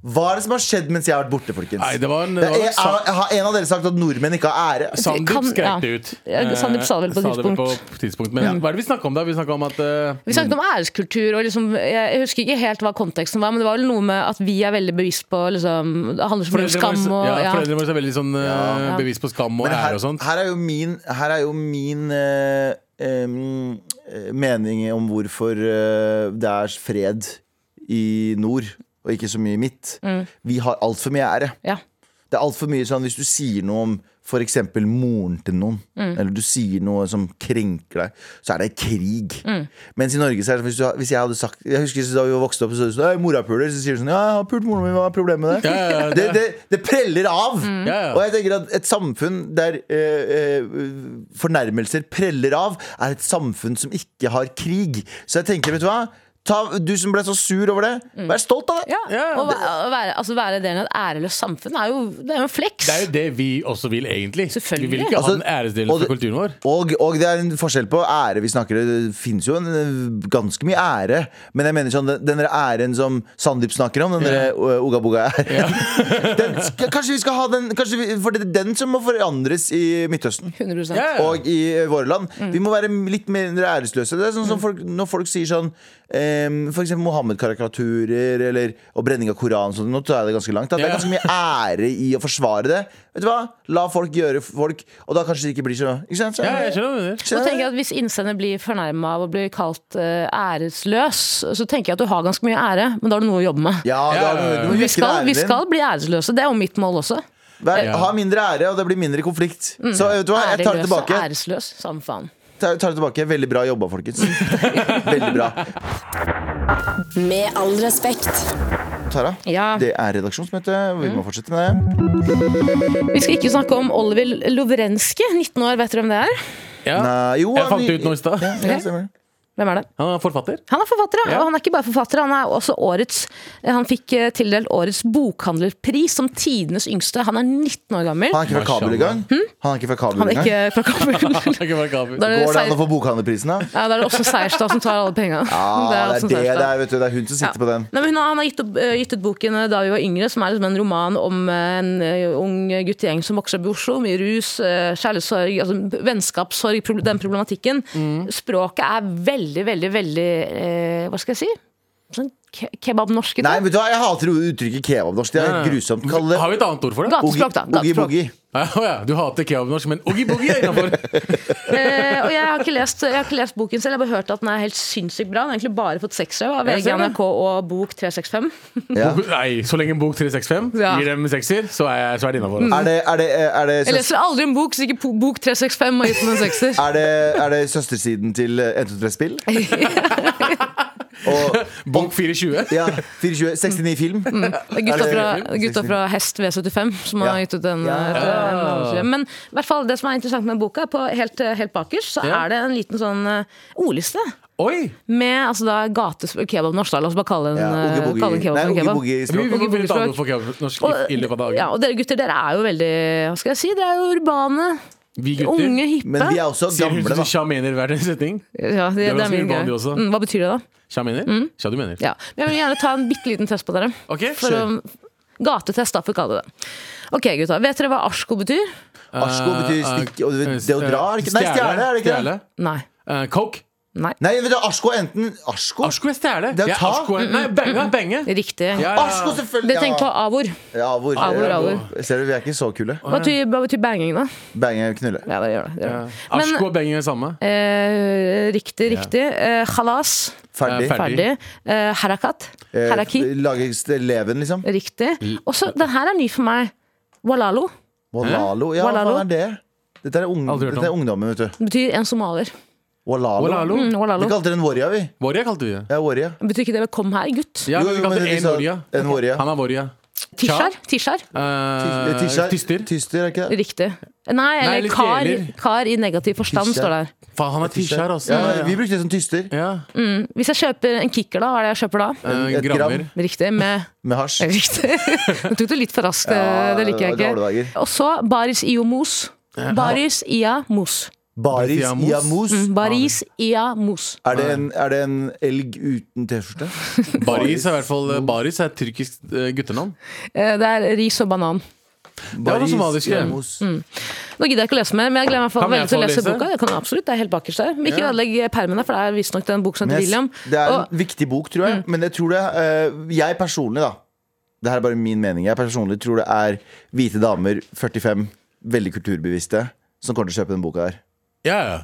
[SPEAKER 3] hva er det som har skjedd mens jeg har vært borte, folkens?
[SPEAKER 4] Nei, det var en- det var
[SPEAKER 3] Jeg-
[SPEAKER 4] en sak-
[SPEAKER 3] jeg- Har en av dere sagt at nordmenn ikke har ære?
[SPEAKER 4] Sandeep
[SPEAKER 2] Kan-
[SPEAKER 4] skrek det
[SPEAKER 2] ja.
[SPEAKER 4] ut.
[SPEAKER 2] Ja, Sandeep sa det vel på
[SPEAKER 4] Eh,
[SPEAKER 2] et
[SPEAKER 4] vel
[SPEAKER 2] tidspunkt.
[SPEAKER 4] på tidspunkt. Men hva er det vi snakka om da? Vi snakka om at eh,
[SPEAKER 2] Vi snakket om
[SPEAKER 3] Mm.
[SPEAKER 2] æreskultur, og liksom, jeg jeg husker ikke helt hva konteksten var, men det var vel noe med at vi er veldig bevisst på liksom, Det handler så mye om
[SPEAKER 4] foreldrene
[SPEAKER 2] skam og
[SPEAKER 4] våre- liksom- ja,
[SPEAKER 2] ja.
[SPEAKER 4] Foreldrene våre er veldig sånn eh,
[SPEAKER 2] Ja.
[SPEAKER 4] bevisst på skam og
[SPEAKER 3] Men
[SPEAKER 4] ære og sånt.
[SPEAKER 3] Her er jo min, her er jo min eh, em, eh, mening om hvorfor eh, det er fred i nord, og ikke så mye i midt. Vi har altfor mye ære.
[SPEAKER 2] Ja.
[SPEAKER 3] Det er altfor mye sånn hvis du sier noe om f.eks. moren til noen, eller du sier noe som krenker deg, så er det krig. Mens i Norge så er det sånn hvis, du, hvis jeg hadde sagt Jeg husker da vi vokste opp, så sa du sånn «Ei, 'Mora puler', så sier du sånn 'Ja, jeg har pult moren min, hva er problemet med det?'
[SPEAKER 4] Ja, ja, ja,
[SPEAKER 3] det, det, det preller av!
[SPEAKER 4] Ja, ja.
[SPEAKER 3] Og jeg tenker at et samfunn der eh, eh, fornærmelser preller av, er et samfunn som ikke har krig. Så jeg tenker, vet du hva? Ta, du som ble så sur over det, vær stolt av det!
[SPEAKER 2] Ja.
[SPEAKER 4] Ja.
[SPEAKER 2] Og væ- å være, altså, være delen av et æreløst samfunn er jo, det er jo en fleks.
[SPEAKER 4] Det er jo det vi også vil, egentlig.
[SPEAKER 2] Selvfølgelig.
[SPEAKER 4] Vi vil ikke
[SPEAKER 3] Altså,
[SPEAKER 4] ha den æresdelen
[SPEAKER 3] og det-
[SPEAKER 4] for kulturen vår.
[SPEAKER 3] Og, og det er en forskjell på ære vi snakker Det finnes jo en, eh, ganske mye ære Men jeg mener sånn, den, den der æren som Sandeep snakker om Den der eh, Oga Boga æren den, sk- Kanskje vi skal ha den kanskje vi, For det er den som må forandres i Midtøsten
[SPEAKER 2] 100
[SPEAKER 4] Ja, ja.
[SPEAKER 3] og i eh, våre land. Vi må være litt mer æresløse. Det er sånn som folk, Når folk sier sånn um, F.eks. Mohammed-karikaturer eller og brenning av Koran. og Sånn, nå tar jeg det ganske langt. Da. Det er
[SPEAKER 4] Ja.
[SPEAKER 3] ganske mye ære i å forsvare det. Vet du hva? La folk gjøre folk, og da kanskje det ikke blir så Ikke sant? Så-
[SPEAKER 4] ja, jeg skjønner hva du mener.
[SPEAKER 2] Nå tenker jeg at Hvis innsender blir fornærma av å bli kalt eh, æresløs, så tenker jeg at du har ganske mye ære, men da har du noe å jobbe med.
[SPEAKER 3] Ja, da,
[SPEAKER 4] Ja, ja, ja.
[SPEAKER 3] du må
[SPEAKER 2] vi,
[SPEAKER 3] vekke
[SPEAKER 2] skal,
[SPEAKER 3] æren
[SPEAKER 2] vi
[SPEAKER 3] din.
[SPEAKER 2] skal bli æresløse, det er jo mitt mål også.
[SPEAKER 3] Vær,
[SPEAKER 4] Ja.
[SPEAKER 3] Ha mindre ære, og det blir mindre konflikt. Så vet du hva, jeg
[SPEAKER 2] Æreløs og
[SPEAKER 3] tar det tilbake.
[SPEAKER 2] æresløs, samme faen.
[SPEAKER 3] tar tar det tilbake. Veldig bra jobba, folkens. Veldig bra.
[SPEAKER 1] Med all respekt.
[SPEAKER 3] Tara,
[SPEAKER 2] Ja.
[SPEAKER 3] det er redaksjonsmøte. Vi må fortsette med det.
[SPEAKER 2] Vi skal ikke snakke om Oliver Lovrenske, 19 år, vet dere hvem det er?
[SPEAKER 4] Ja.
[SPEAKER 3] Nei, Eh, jo,
[SPEAKER 4] jeg fant
[SPEAKER 3] han-
[SPEAKER 4] det ut nå i stad.
[SPEAKER 3] Ja, stemmer det.
[SPEAKER 2] Hvem er det?
[SPEAKER 4] Han er forfatter.
[SPEAKER 2] Han er forfatter, ja.
[SPEAKER 4] Ja.
[SPEAKER 2] Og han er ikke bare forfatter, han er også årets Han fikk eh, tildelt årets bokhandlerpris som tidenes yngste. Han er 19 år gammel.
[SPEAKER 3] Han er ikke fra Kabul engang. Han er ikke fra Kabul
[SPEAKER 2] Hm? Han er
[SPEAKER 3] engang.
[SPEAKER 2] ikke fra Kabul.
[SPEAKER 4] Det kan være gavut.
[SPEAKER 2] Da er det,
[SPEAKER 3] Går det an å
[SPEAKER 2] Seier,
[SPEAKER 3] få bokhandlerprisen, da?
[SPEAKER 2] ja, da er det Åsne Seierstad som tar alle penga.
[SPEAKER 3] Ja, det er
[SPEAKER 2] Åsne
[SPEAKER 3] det
[SPEAKER 2] Seierstad.
[SPEAKER 3] det er, vet du. Det er hun som
[SPEAKER 2] Ja.
[SPEAKER 3] sitter på den.
[SPEAKER 2] Nei, men hun har, han har gitt, opp, eh, gitt ut boken eh, da vi var yngre, som er liksom en roman om eh, en eh, ung guttegjeng som vokser opp i Oslo. Mye rus, eh, kjærlighetssorg, altså, vennskapssorg, proble- den problematikken.
[SPEAKER 3] Mm.
[SPEAKER 2] Språket er veldig, veldig, veldig eh, Hva skal jeg si? Sånn ke kebabnorskete.
[SPEAKER 3] Nei, vet du hva, jeg hater uttrykket kebabnorsk. Det er helt grusomt. Kall det
[SPEAKER 4] Mm. Har vi et annet ord for det?
[SPEAKER 2] Gatespråk, da. Gatespråk.
[SPEAKER 3] boogie.
[SPEAKER 4] Ja, å ja. Du hater kebabnorsk, men oogie-boogie er innafor.
[SPEAKER 2] Eh, og jeg har, ikke lest, jeg har ikke lest boken selv, jeg har bare hørt at den er helt sinnssykt bra. Den har egentlig bare fått seksere av
[SPEAKER 4] Jeg
[SPEAKER 2] VG,
[SPEAKER 4] ser det.
[SPEAKER 2] NRK og Bok 365.
[SPEAKER 3] Ja.
[SPEAKER 4] Nei, så lenge bok 365
[SPEAKER 2] Ja. Mm.
[SPEAKER 4] gir dem sekser, så er, jeg- så er det innafor.
[SPEAKER 3] Er det, er det, er det,
[SPEAKER 2] Jeg
[SPEAKER 3] søs-
[SPEAKER 2] leser aldri en bok som ikke po- Bok 365 har gitt den en sekser.
[SPEAKER 3] er det, er det søstersiden til eh, 123-spill? Og
[SPEAKER 4] Bok 420.
[SPEAKER 3] ja, 24, 69 film.
[SPEAKER 2] Det er Gutta
[SPEAKER 3] Er det
[SPEAKER 2] fra,
[SPEAKER 3] film?
[SPEAKER 2] gutta fra Hest V75 som har
[SPEAKER 3] Ja.
[SPEAKER 2] gitt ut en,
[SPEAKER 3] Ja.
[SPEAKER 2] et, en annonse. Men i hvert fall det som er interessant med boka, på helt, eh, helt bakerst, så
[SPEAKER 4] Ja.
[SPEAKER 2] er det en liten sånn eh, ordliste
[SPEAKER 4] Oi!
[SPEAKER 2] med altså, da, gates kebabnorsk. da. La oss bare kalle den,
[SPEAKER 3] Ja,
[SPEAKER 2] eh,
[SPEAKER 3] Oogie
[SPEAKER 2] kalle den
[SPEAKER 3] Boogie.
[SPEAKER 2] kebab
[SPEAKER 3] Nei,
[SPEAKER 2] for
[SPEAKER 3] Oogie
[SPEAKER 2] kebab.
[SPEAKER 3] Boogie
[SPEAKER 4] Vi
[SPEAKER 3] språk.
[SPEAKER 4] vi må finne et annet ord for
[SPEAKER 2] Og,
[SPEAKER 4] kebabnorsk i løpet av
[SPEAKER 2] ja,
[SPEAKER 4] dagen.
[SPEAKER 2] og dere gutter, dere er jo veldig Hva skal jeg si? Dere er jo urbane.
[SPEAKER 4] Vi gutter
[SPEAKER 2] Unge, hippe.
[SPEAKER 3] Men vi er også
[SPEAKER 4] sier hun
[SPEAKER 3] gamle,
[SPEAKER 4] til
[SPEAKER 3] da.
[SPEAKER 4] sjamener hver setning.
[SPEAKER 2] Ja, det, det
[SPEAKER 4] Du er
[SPEAKER 2] er
[SPEAKER 4] ganske
[SPEAKER 2] min
[SPEAKER 4] urban,
[SPEAKER 2] greie.
[SPEAKER 4] du også.
[SPEAKER 2] Mm, hva betyr det, da?
[SPEAKER 4] Sjamener? Sja, du mener.
[SPEAKER 2] Ja. Men jeg vil gjerne ta en bitte liten test på dere.
[SPEAKER 4] Ok,
[SPEAKER 2] For å, gatetest, da, for å kalle det det. Ok, gutta. Vet dere hva Asko betyr?
[SPEAKER 4] Eh,
[SPEAKER 3] Asko betyr stikk og du vet, det å dra, er det ikke? Nei, stjele, er det ikke det?
[SPEAKER 2] Nei.
[SPEAKER 4] Eh, coke.
[SPEAKER 2] Nei.
[SPEAKER 3] Nei, vet du, Asko er enten Asko
[SPEAKER 4] Asko er stjele.
[SPEAKER 3] Det er
[SPEAKER 4] Ja,
[SPEAKER 3] ta.
[SPEAKER 4] Asko er- Nei, benge. benge.
[SPEAKER 2] Riktig.
[SPEAKER 4] Ja, ja, ja.
[SPEAKER 3] Asko, selvfølgelig!
[SPEAKER 2] Dere tenker på
[SPEAKER 3] Ja,
[SPEAKER 2] A-ord.
[SPEAKER 3] ja hvor,
[SPEAKER 2] Avor,
[SPEAKER 4] avor.
[SPEAKER 3] Ser du, vi er ikke så kule.
[SPEAKER 2] Hva betyr, hva betyr banging, da?
[SPEAKER 3] Bange knulle.
[SPEAKER 2] Ja, det gjør det. det,
[SPEAKER 4] Ja.
[SPEAKER 2] gjør det. Men-
[SPEAKER 4] Asko og benge er det samme.
[SPEAKER 2] Eh, riktig,
[SPEAKER 4] Ja.
[SPEAKER 2] riktig. Eh, halas.
[SPEAKER 3] Ferdig.
[SPEAKER 4] Eh,
[SPEAKER 2] Ferdig. Eh, harakat.
[SPEAKER 3] Eh,
[SPEAKER 2] Haraki.
[SPEAKER 3] Lage st- leven, liksom.
[SPEAKER 2] Riktig. Og så, den her er ny for meg. Walalo.
[SPEAKER 3] Walalo. Ja, hva
[SPEAKER 2] Walalo.
[SPEAKER 3] faen er det? Dette er, ung,
[SPEAKER 4] Aldri hørt om.
[SPEAKER 3] dette er ungdommen, vet du.
[SPEAKER 2] Det betyr en somalier.
[SPEAKER 3] Walalo.
[SPEAKER 4] Walalo.
[SPEAKER 2] Mm,
[SPEAKER 3] Vi
[SPEAKER 2] walalo.
[SPEAKER 3] kalte den Warria, vi.
[SPEAKER 4] Warrior kalte vi det.
[SPEAKER 3] Ja, Warria.
[SPEAKER 2] Betyr ikke det 'kom her, gutt'?
[SPEAKER 4] Ja,
[SPEAKER 3] Jo,
[SPEAKER 4] vi
[SPEAKER 3] jo,
[SPEAKER 4] kalte
[SPEAKER 3] men de
[SPEAKER 4] en
[SPEAKER 3] sa-
[SPEAKER 4] Warrior.
[SPEAKER 3] en Warrior.
[SPEAKER 4] Han er Warrior.
[SPEAKER 2] Tishar? Tishar?
[SPEAKER 4] Eh,
[SPEAKER 3] Tisser.
[SPEAKER 4] Tyster.
[SPEAKER 3] Tyster, er ikke det?
[SPEAKER 2] Riktig. Nei, eller
[SPEAKER 4] eller
[SPEAKER 2] kar,
[SPEAKER 4] kjeler.
[SPEAKER 2] kar i negativ forstand,
[SPEAKER 3] Tisser.
[SPEAKER 2] står det her.
[SPEAKER 4] Faen, han er tisjer, altså. Mm.
[SPEAKER 3] Ja, vi brukte det som tyster.
[SPEAKER 4] ja.
[SPEAKER 2] Hvis jeg kjøper en kicker, da, hva er det jeg kjøper da?
[SPEAKER 4] Eh,
[SPEAKER 3] Et gram.
[SPEAKER 4] Grammer.
[SPEAKER 2] Riktig. Med
[SPEAKER 3] Med hasj.
[SPEAKER 2] Riktig. Nå tok du litt for raskt, eh,
[SPEAKER 3] Ja,
[SPEAKER 2] det liker jeg
[SPEAKER 3] det var dårlige
[SPEAKER 2] ikke.
[SPEAKER 3] dager.
[SPEAKER 2] Og så Baris Io Mos. Baris Ia Mos.
[SPEAKER 3] Baris
[SPEAKER 4] Baris Iamos.
[SPEAKER 3] Iamos.
[SPEAKER 2] Baris Ia Mos.
[SPEAKER 3] Er det, en, er det en elg uten T-skjorte?
[SPEAKER 4] Baris er i hvert fall
[SPEAKER 3] Mm.
[SPEAKER 4] Baris er et tyrkisk eh, guttenavn.
[SPEAKER 2] Eh, Det er ris og banan.
[SPEAKER 4] var noe somalisk, ja.
[SPEAKER 3] Iamos.
[SPEAKER 2] Mm. Nå gidder jeg ikke å lese mer, men jeg gleder meg for
[SPEAKER 4] Kan jeg
[SPEAKER 2] veldig til å
[SPEAKER 4] få
[SPEAKER 2] lese
[SPEAKER 4] lese?
[SPEAKER 2] boka. Det kan jeg absolutt, det er helt bakerst der. Men ikke
[SPEAKER 4] Ja.
[SPEAKER 2] ødelegg permen, der, for det er visstnok den boken som
[SPEAKER 3] Men
[SPEAKER 2] heter
[SPEAKER 3] jeg-
[SPEAKER 2] William.
[SPEAKER 3] Det er en
[SPEAKER 2] Og,
[SPEAKER 3] viktig bok, tror
[SPEAKER 4] Mm.
[SPEAKER 3] jeg. Men jeg tror det eh, Jeg personlig, da. Det her er bare min mening. Jeg personlig tror det er hvite damer, 45, veldig kulturbevisste, som kommer til å kjøpe den boka her.
[SPEAKER 4] Ja, ja.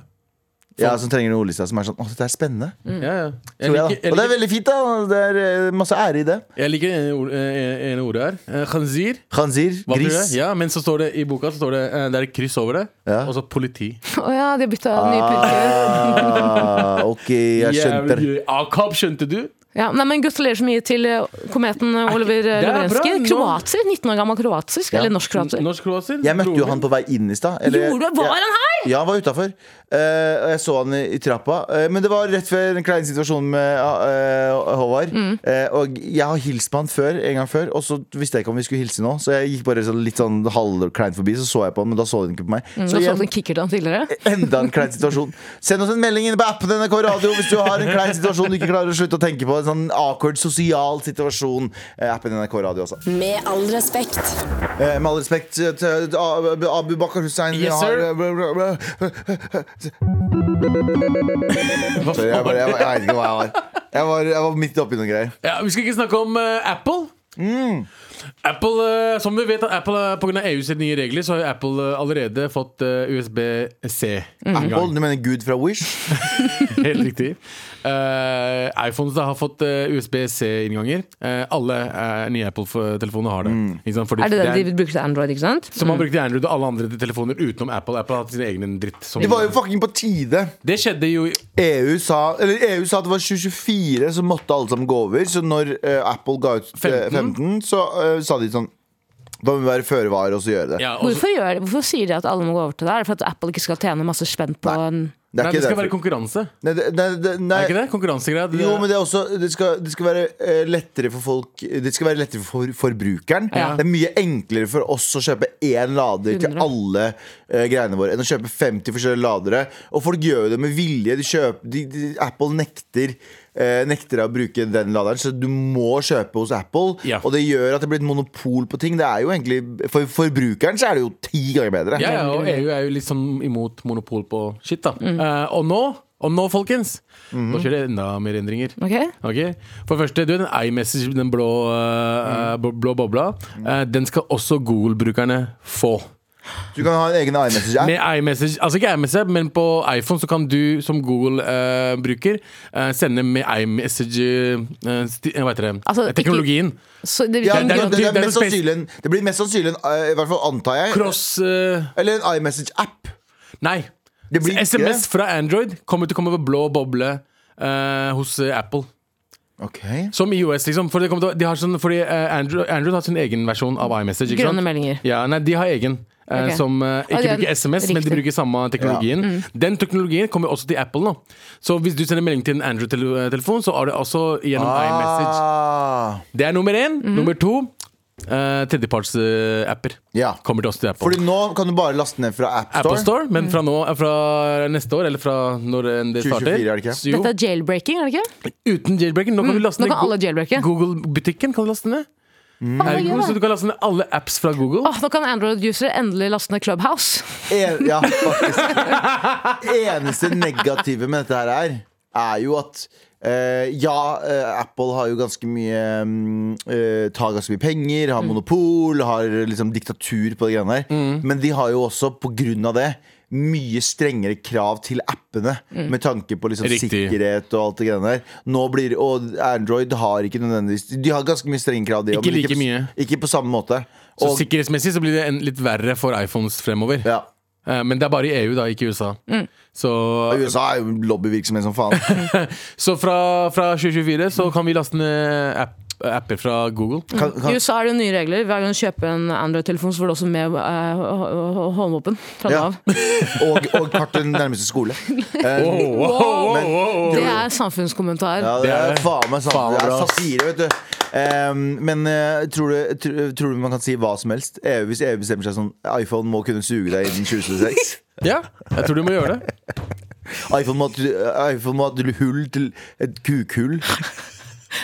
[SPEAKER 3] Ja, Som trenger en ordliste som er sånn Å, dette er spennende.
[SPEAKER 4] ja, ja. Jeg,
[SPEAKER 3] Tror jeg,
[SPEAKER 4] liker,
[SPEAKER 3] da.
[SPEAKER 4] jeg,
[SPEAKER 3] Og det er
[SPEAKER 4] liker,
[SPEAKER 3] veldig fint, da. Det er eh, masse ære i det.
[SPEAKER 4] jeg liker det ene ord- eh, ene ordet her. Eh, Khanzir.
[SPEAKER 3] Khanzir,
[SPEAKER 4] Hva blir det?
[SPEAKER 3] gris.
[SPEAKER 4] Ja, men så står det i boka så står det, eh, det er et kryss over det,
[SPEAKER 3] Ja.
[SPEAKER 4] og så politi.
[SPEAKER 2] å ja, de har bytta nye purker.
[SPEAKER 3] Ah, ok, jeg skjønner.
[SPEAKER 4] Jævlig- Akab, skjønte du?
[SPEAKER 2] Ja, nei, men Gratulerer så mye til eh, kometen eh, Oliver eh,
[SPEAKER 4] det er bra,
[SPEAKER 2] Lovrenskij.
[SPEAKER 4] nå-
[SPEAKER 2] Kroater. 19 år gammel kroatisk. Eller norsk-kroater.
[SPEAKER 4] Norsk kroater.
[SPEAKER 3] Jeg møtte jo han på vei inn i stad. eller-
[SPEAKER 2] Gjorde du- Var
[SPEAKER 3] Ja.
[SPEAKER 2] han her?!
[SPEAKER 3] Ja, han var utafor. Og jeg så han i, i trappa. Eh, men det var rett før den kleine situasjonen med eh, Håvard. Eh, og jeg har hilst på han før, en gang før, og så visste jeg ikke om vi skulle hilse nå. Så jeg gikk bare sånn, litt sånn halvkleint forbi, så så jeg på han, men Mm, da så han ikke på meg.
[SPEAKER 2] Mm. Du
[SPEAKER 3] så
[SPEAKER 2] har
[SPEAKER 3] igjen, Eh,
[SPEAKER 2] solgt en kickert han tidligere.
[SPEAKER 3] enda en klein situasjon. Send oss en melding inne på appen NRK Radio hvis du har en klein situasjon du ikke klarer å slutte å tenke på. En sånn awkward sosial situasjon. Eh, appen NRK Radio, altså.
[SPEAKER 1] Med all respekt.
[SPEAKER 3] Eh, med all respekt til eh, til Ab- Abu Bakar Hussein vi
[SPEAKER 4] Yes, sir.
[SPEAKER 3] har- eh,
[SPEAKER 4] Hva
[SPEAKER 3] Sorry, jeg,
[SPEAKER 4] faen?
[SPEAKER 3] bare, jeg, jeg vet ikke hva jeg var. Jeg var, jeg var midt oppi noen greier.
[SPEAKER 4] Ja, vi skal ikke snakke om eh, Apple.
[SPEAKER 3] Mm.
[SPEAKER 4] Apple, eh, som vi vet, Apple, eh, på grunn av EUs nye regler, så har jo Apple eh, allerede fått eh, USB-C.
[SPEAKER 2] Mm.
[SPEAKER 3] Apple, du mener Gud fra Wish?
[SPEAKER 4] Helt riktig. Eh, iPhones da har fått eh, USB-C-innganger. Eh, alle eh, nye Apple-telefoner har det.
[SPEAKER 3] Mm.
[SPEAKER 4] Ikke sant? Fordi
[SPEAKER 2] Er det
[SPEAKER 4] det
[SPEAKER 2] det
[SPEAKER 4] er-
[SPEAKER 2] de bruker til Android, ikke sant?
[SPEAKER 4] Så man brukte Android og alle andre telefoner utenom Apple. Apple har hatt sine egne dritt. som-
[SPEAKER 3] Det var jo fucking på tide.
[SPEAKER 4] det skjedde jo i-
[SPEAKER 3] EU sa, eller EU sa at det var 2024 så måtte alle sammen gå over. Så når eh, Apple ga ut eh,
[SPEAKER 4] 15.
[SPEAKER 3] 15, så eh, sa de sånn Da må vi være føre var og så gjøre det.
[SPEAKER 4] ja, og så-
[SPEAKER 2] Hvorfor, gjør, det- hvorfor sier de at alle må gå over til det? Er det for at Apple ikke skal tjene masse spenn på en
[SPEAKER 3] Det er
[SPEAKER 4] Nei, det skal
[SPEAKER 3] derfor.
[SPEAKER 4] være konkurranse.
[SPEAKER 3] Nei, det- nei, det- nei.
[SPEAKER 4] Er ikke det? Konkurransegreier. Det-
[SPEAKER 3] Jo, men det er også Det skal, det skal være eh, lettere for folk Det skal være lettere for forbrukeren.
[SPEAKER 4] Ja.
[SPEAKER 3] Det er mye enklere for oss å kjøpe én lader til
[SPEAKER 2] 100.
[SPEAKER 3] alle eh, greiene våre enn å kjøpe 50 forskjellige ladere. Og folk gjør jo det med vilje. De kjøper, de, de, Apple nekter eh, Nekter å bruke den laderen, så du må kjøpe hos Apple.
[SPEAKER 4] Ja.
[SPEAKER 3] Og det gjør at det blir et monopol på ting. Det er jo egentlig For forbrukeren så er det jo ti ganger bedre.
[SPEAKER 4] Ja, ja, og EU er jo litt sånn imot monopol på shit, da.
[SPEAKER 3] Mm.
[SPEAKER 4] Eh, og nå, og nå, folkens,
[SPEAKER 3] Mhm.
[SPEAKER 4] nå skjer det enda mer endringer.
[SPEAKER 2] Ok?
[SPEAKER 4] Ok? For det første, du vet den iMessage, den blå,
[SPEAKER 3] Mm.
[SPEAKER 4] eh, bo- blå bobla, eh, den skal også Google-brukerne få.
[SPEAKER 3] Du kan ha en egen iMessage-app.
[SPEAKER 4] Med iMessage, altså ikke iMessage, men på iPhone så kan du som Google-bruker eh, sende med eh, iMessage-teknologien.
[SPEAKER 2] Altså, ikke- Så det,
[SPEAKER 3] Ja,
[SPEAKER 2] hvilken
[SPEAKER 3] det,
[SPEAKER 4] det er
[SPEAKER 3] det,
[SPEAKER 4] noe-
[SPEAKER 2] grunn-
[SPEAKER 3] det,
[SPEAKER 4] det er
[SPEAKER 3] er
[SPEAKER 4] noe
[SPEAKER 3] mest
[SPEAKER 4] spes-
[SPEAKER 3] sannsynlig en- det blir mest sannsynlig en, eh, i hvert fall antar jeg,
[SPEAKER 4] Cross eh,
[SPEAKER 3] Eller en iMessage-app.
[SPEAKER 4] Nei.
[SPEAKER 3] Det blir ikke
[SPEAKER 4] SMS
[SPEAKER 3] det.
[SPEAKER 4] fra Android kommer til å komme på blå boble eh, hos eh, Apple.
[SPEAKER 3] Ok
[SPEAKER 4] Som iOS, liksom. For det kommer til, å- de har sånn, fordi eh, Android, Android har sin egen versjon av iMessage. ikke sant?
[SPEAKER 2] Grønne meldinger.
[SPEAKER 4] Ja, nei, de har egen. eh,
[SPEAKER 2] Ok.
[SPEAKER 4] Som eh, ikke
[SPEAKER 2] Ah, ja,
[SPEAKER 4] bruker SMS, men de
[SPEAKER 2] riktig.
[SPEAKER 4] bruker samme teknologien. Mm. Den teknologien kommer også til Apple nå. Så hvis du sender melding til en Android-telefon, så er det også gjennom iMessage.
[SPEAKER 3] Ah,
[SPEAKER 4] Det er nummer én. Nummer to eh, tredjeparts-apper.
[SPEAKER 3] Ja.
[SPEAKER 4] Kommer til oss til Apple.
[SPEAKER 3] Fordi nå kan du bare laste ned fra App Store.
[SPEAKER 4] Apple Store, men fra, nå, eh, fra neste år, eller fra når enn det starter
[SPEAKER 3] 2024 er det ikke?
[SPEAKER 4] Så
[SPEAKER 2] Dette er jailbreaking, er det
[SPEAKER 3] Mm.
[SPEAKER 2] ikke?
[SPEAKER 4] Jo, uten jailbreaking. Nå kan du laste
[SPEAKER 2] Nå kan
[SPEAKER 4] ned
[SPEAKER 2] alle jailbreake.
[SPEAKER 4] Google-butikken. kan du laste ned Er det ikke noe? Så du kan laste ned alle apps fra Google.
[SPEAKER 2] Åh, nå kan Android-usere endelig laste ned Clubhouse.
[SPEAKER 3] En, ja, faktisk. Eneste negative med dette her er, er jo at eh, ja, eh, Apple har jo ganske mye mm, eh, Tar ganske mye penger,
[SPEAKER 4] Mm.
[SPEAKER 3] har monopol, har liksom diktatur på de greiene der. Men de har jo også, på grunn av det, mye strengere krav til appene med tanke på liksom
[SPEAKER 4] Mm. Riktig.
[SPEAKER 3] sikkerhet og alt det greiene der. Nå blir, og Android har ikke nødvendigvis De har ganske mye strenge krav, de
[SPEAKER 4] Ikke
[SPEAKER 3] også, men
[SPEAKER 4] like mye.
[SPEAKER 3] På, ikke på samme måte.
[SPEAKER 4] Så
[SPEAKER 3] Og,
[SPEAKER 4] sikkerhetsmessig så blir det en, litt verre for iPhones fremover.
[SPEAKER 3] ja.
[SPEAKER 4] Eh, Men det er bare i EU, da, ikke i USA.
[SPEAKER 2] Mm.
[SPEAKER 4] Så,
[SPEAKER 3] USA er jo lobbyvirksomhet som faen.
[SPEAKER 4] så fra, fra 2024 så kan vi laste ned app, apper fra Google.
[SPEAKER 3] Kan,
[SPEAKER 2] I
[SPEAKER 3] kan,
[SPEAKER 2] USA er det jo nye regler. Hver gang du kjøper en Android-telefon, så får du også med eh, hå- hå- håndvåpen. Fra nå
[SPEAKER 3] Ja.
[SPEAKER 2] av.
[SPEAKER 3] og, og kart til den nærmeste skole. Eh, men-
[SPEAKER 2] Det er samfunnskommentar.
[SPEAKER 3] ja, det er
[SPEAKER 4] Det er-
[SPEAKER 3] faen meg sant.
[SPEAKER 4] faen
[SPEAKER 3] Det er
[SPEAKER 4] bra, ass.
[SPEAKER 3] satire, vet du. Eh, men eh, tror, du, tr- tror du man kan si hva som helst? EU, hvis EU bestemmer seg sånn iPhone må kunne suge deg innen 2026.
[SPEAKER 4] Ja, jeg tror du må gjøre det.
[SPEAKER 3] iPhone må ha et- iPhone må ha et hull til et kukhull.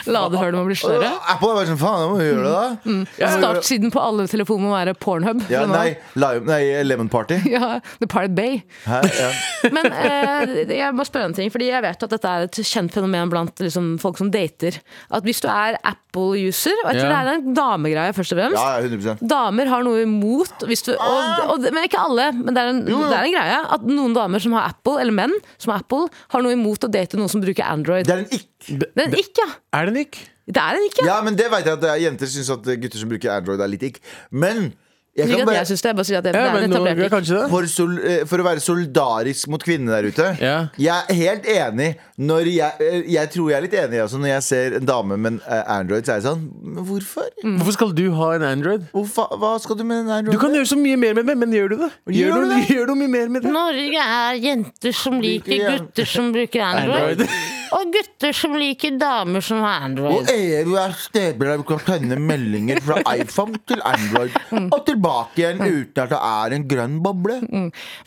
[SPEAKER 2] Ladehølene må bli større.
[SPEAKER 3] Apple er bare sånn faen, da må vi gjøre det, da.
[SPEAKER 2] Startsiden på alle telefoner må være Pornhub.
[SPEAKER 3] Ja,
[SPEAKER 2] fra nå av.
[SPEAKER 3] nei, lime, nei, Lemon Party.
[SPEAKER 2] Ja, The Pirate Bay.
[SPEAKER 3] Hæ? Ja.
[SPEAKER 2] Men eh, jeg må spørre en ting, fordi jeg vet at dette er et kjent fenomen blant liksom, folk som dater. At hvis du er Apple-user, og jeg tror
[SPEAKER 4] Ja.
[SPEAKER 2] det er en damegreie først og fremst
[SPEAKER 3] ja, ja, 100
[SPEAKER 2] Damer har noe imot hvis du, og, og, Men ikke alle, men det er, en,
[SPEAKER 3] jo.
[SPEAKER 2] det er en greie. At noen damer som har Apple, eller menn som har Apple, har noe imot å date noen som bruker Android.
[SPEAKER 3] Det
[SPEAKER 2] Det
[SPEAKER 3] er en ikk.
[SPEAKER 2] er en ikke, ja.
[SPEAKER 4] Er det Nick?
[SPEAKER 2] Det er en ikke.
[SPEAKER 3] Ja, men det vet jeg at eh, jenter syns at gutter som bruker Android, er litt ikk. Men jeg
[SPEAKER 2] Ikke
[SPEAKER 3] kan
[SPEAKER 2] at
[SPEAKER 3] bare
[SPEAKER 2] jeg syns det, jeg bare sier at det,
[SPEAKER 4] Ja,
[SPEAKER 2] det er
[SPEAKER 4] men
[SPEAKER 2] en
[SPEAKER 4] nå,
[SPEAKER 2] etablert ikke.
[SPEAKER 4] kanskje det?
[SPEAKER 3] for, sol, eh, for å være solidarisk mot kvinnene der ute.
[SPEAKER 4] Ja.
[SPEAKER 3] Jeg er helt enig. Når jeg, eh, jeg tror jeg er litt enig jeg også, når jeg ser en dame med en eh, Android, så er jeg sånn Men hvorfor?
[SPEAKER 2] Mm.
[SPEAKER 4] Hvorfor skal du ha en Android?
[SPEAKER 3] Hvorfa, hva skal du med en Android?
[SPEAKER 4] Du kan gjøre så mye mer med det, men gjør du det?
[SPEAKER 3] Gjør
[SPEAKER 4] Gjør
[SPEAKER 3] du
[SPEAKER 4] du,
[SPEAKER 3] det?
[SPEAKER 4] gjør du mye mer med det?
[SPEAKER 6] Norge er jenter som liker
[SPEAKER 3] Liker-
[SPEAKER 6] gutter som bruker Android. Og gutter som liker damer som har
[SPEAKER 3] og
[SPEAKER 6] Android.
[SPEAKER 3] EU er steder der du kan sende meldinger fra iPhone til Android og tilbake igjen uten at det er en grønn boble.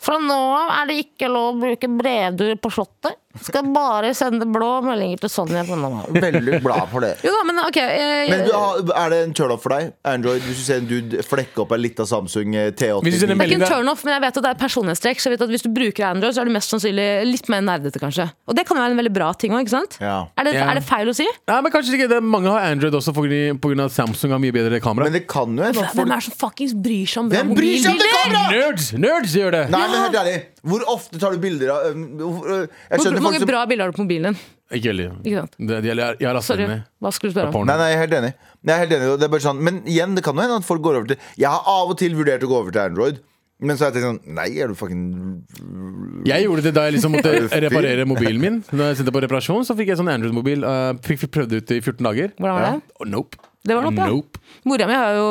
[SPEAKER 6] Fra nå av er det ikke lov å bruke brevduer på Slottet. Skal bare sende blå meldinger til Sonja på normalen.
[SPEAKER 3] Veldig glad for det.
[SPEAKER 2] Jo da, men ok eh, jeg,
[SPEAKER 3] Men du, har- er det en turnoff for deg? Android, hvis du ser en dude flekke opp en lita Samsung eh, T89
[SPEAKER 4] Hvis du
[SPEAKER 2] Det er
[SPEAKER 4] sender
[SPEAKER 2] ikke
[SPEAKER 4] melding
[SPEAKER 2] en
[SPEAKER 4] der.
[SPEAKER 2] turnoff, men jeg vet at det er personlighetstrekk. Så jeg vet at Hvis du bruker Android, så er du mest sannsynlig litt mer nerdete, kanskje. Og det kan jo være en veldig bra ting òg, ikke sant?
[SPEAKER 3] Ja.
[SPEAKER 2] Er, det,
[SPEAKER 4] Ja.
[SPEAKER 2] er det feil å si?
[SPEAKER 4] Nei, men kanskje ikke det Mange har Android også pga. at Samsung har mye bedre kamera.
[SPEAKER 3] Men det kan jo hende at
[SPEAKER 2] Hvem
[SPEAKER 3] folk
[SPEAKER 2] er det som fuckings bryr seg om bra
[SPEAKER 3] Hvem bryr seg om det
[SPEAKER 2] mobilbilder?
[SPEAKER 3] kameraet?!
[SPEAKER 4] Nerds! Nerds gjør det!
[SPEAKER 3] Nei, men helt ærlig, hvor ofte tar du bilder av øhm, hvor- øh, Jeg
[SPEAKER 2] Hvor
[SPEAKER 3] skjønner folk
[SPEAKER 2] mange
[SPEAKER 3] som
[SPEAKER 2] bra bilder har du på mobilen din?
[SPEAKER 4] Ikke veldig.
[SPEAKER 2] Ikke sant?
[SPEAKER 4] Det, de, jeg, jeg har lastet
[SPEAKER 2] Sorry,
[SPEAKER 4] den ned.
[SPEAKER 2] hva skulle du spørre om?
[SPEAKER 4] Porno.
[SPEAKER 3] Nei, nei, jeg er helt enig. Jeg er helt enig. og Det er bare sånn. Men igjen, det kan jo hende at folk går over til Jeg har av og til vurdert å gå over til Android. Men så har jeg tenkt sånn Nei, er du fucking
[SPEAKER 4] Jeg gjorde det da jeg liksom måtte
[SPEAKER 3] Er du fyr?
[SPEAKER 4] reparere mobilen min. Når jeg sendte på reparasjon, så fikk jeg sånn Android-mobil. eh, fikk, fikk prøvd ut i 14 dager.
[SPEAKER 2] Hvordan var det?
[SPEAKER 4] Oh, nope.
[SPEAKER 2] Det var noe, ja.
[SPEAKER 4] Nope.
[SPEAKER 2] Mora mi har jo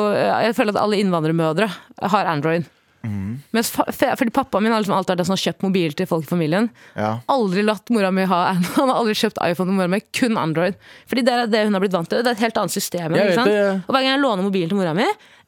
[SPEAKER 2] Jeg føler at alle innvandrermødre har Android.
[SPEAKER 4] Mm.
[SPEAKER 2] Mens fa fe- fordi pappaen min har liksom alltid vært den som har kjøpt mobil til folk i familien.
[SPEAKER 3] Ja.
[SPEAKER 2] Aldri latt mora mi ha Han har aldri kjøpt iPhone til mora mi, kun Android. Fordi det er det hun har blitt vant til. Det er et helt annet system.
[SPEAKER 4] Jeg
[SPEAKER 2] ikke
[SPEAKER 4] vet
[SPEAKER 2] sant?
[SPEAKER 4] det, ja.
[SPEAKER 2] Og hver gang jeg låner mobilen til mora mi,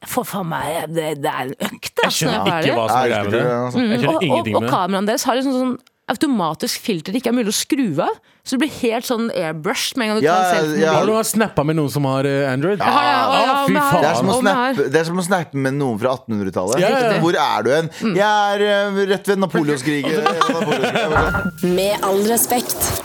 [SPEAKER 2] jeg får faen meg Det, det er en økt. altså,
[SPEAKER 4] Jeg skjønner ikke hva som
[SPEAKER 3] Nei,
[SPEAKER 4] er
[SPEAKER 3] jeg
[SPEAKER 4] greia
[SPEAKER 3] husker
[SPEAKER 4] med
[SPEAKER 3] ikke
[SPEAKER 4] det.
[SPEAKER 3] det, altså.
[SPEAKER 4] Jeg skjønner
[SPEAKER 2] og, og,
[SPEAKER 4] ingenting
[SPEAKER 2] og
[SPEAKER 4] med det.
[SPEAKER 2] kameraene deres har liksom sånn automatisk filter det ikke er mulig å skru av. Så det blir helt sånn airbrushed med en gang du
[SPEAKER 3] Ja,
[SPEAKER 2] tar en selfie. med
[SPEAKER 3] ja.
[SPEAKER 4] Har
[SPEAKER 2] mobilen.
[SPEAKER 4] du snappa med noen som har eh, Android?
[SPEAKER 2] Jeg har det, og-
[SPEAKER 4] Ah,
[SPEAKER 2] og-
[SPEAKER 4] fy
[SPEAKER 2] men jeg har-
[SPEAKER 3] Det er, som å
[SPEAKER 4] faen.
[SPEAKER 2] og- men jeg har-
[SPEAKER 3] snappe, det er som å snappe med noen fra 1800-tallet.
[SPEAKER 4] Ja, ja, ja.
[SPEAKER 3] Hvor er du hen? Jeg er øh, rett ved Napoleonskrigen. Napoleonskrigen.
[SPEAKER 1] Med all respekt.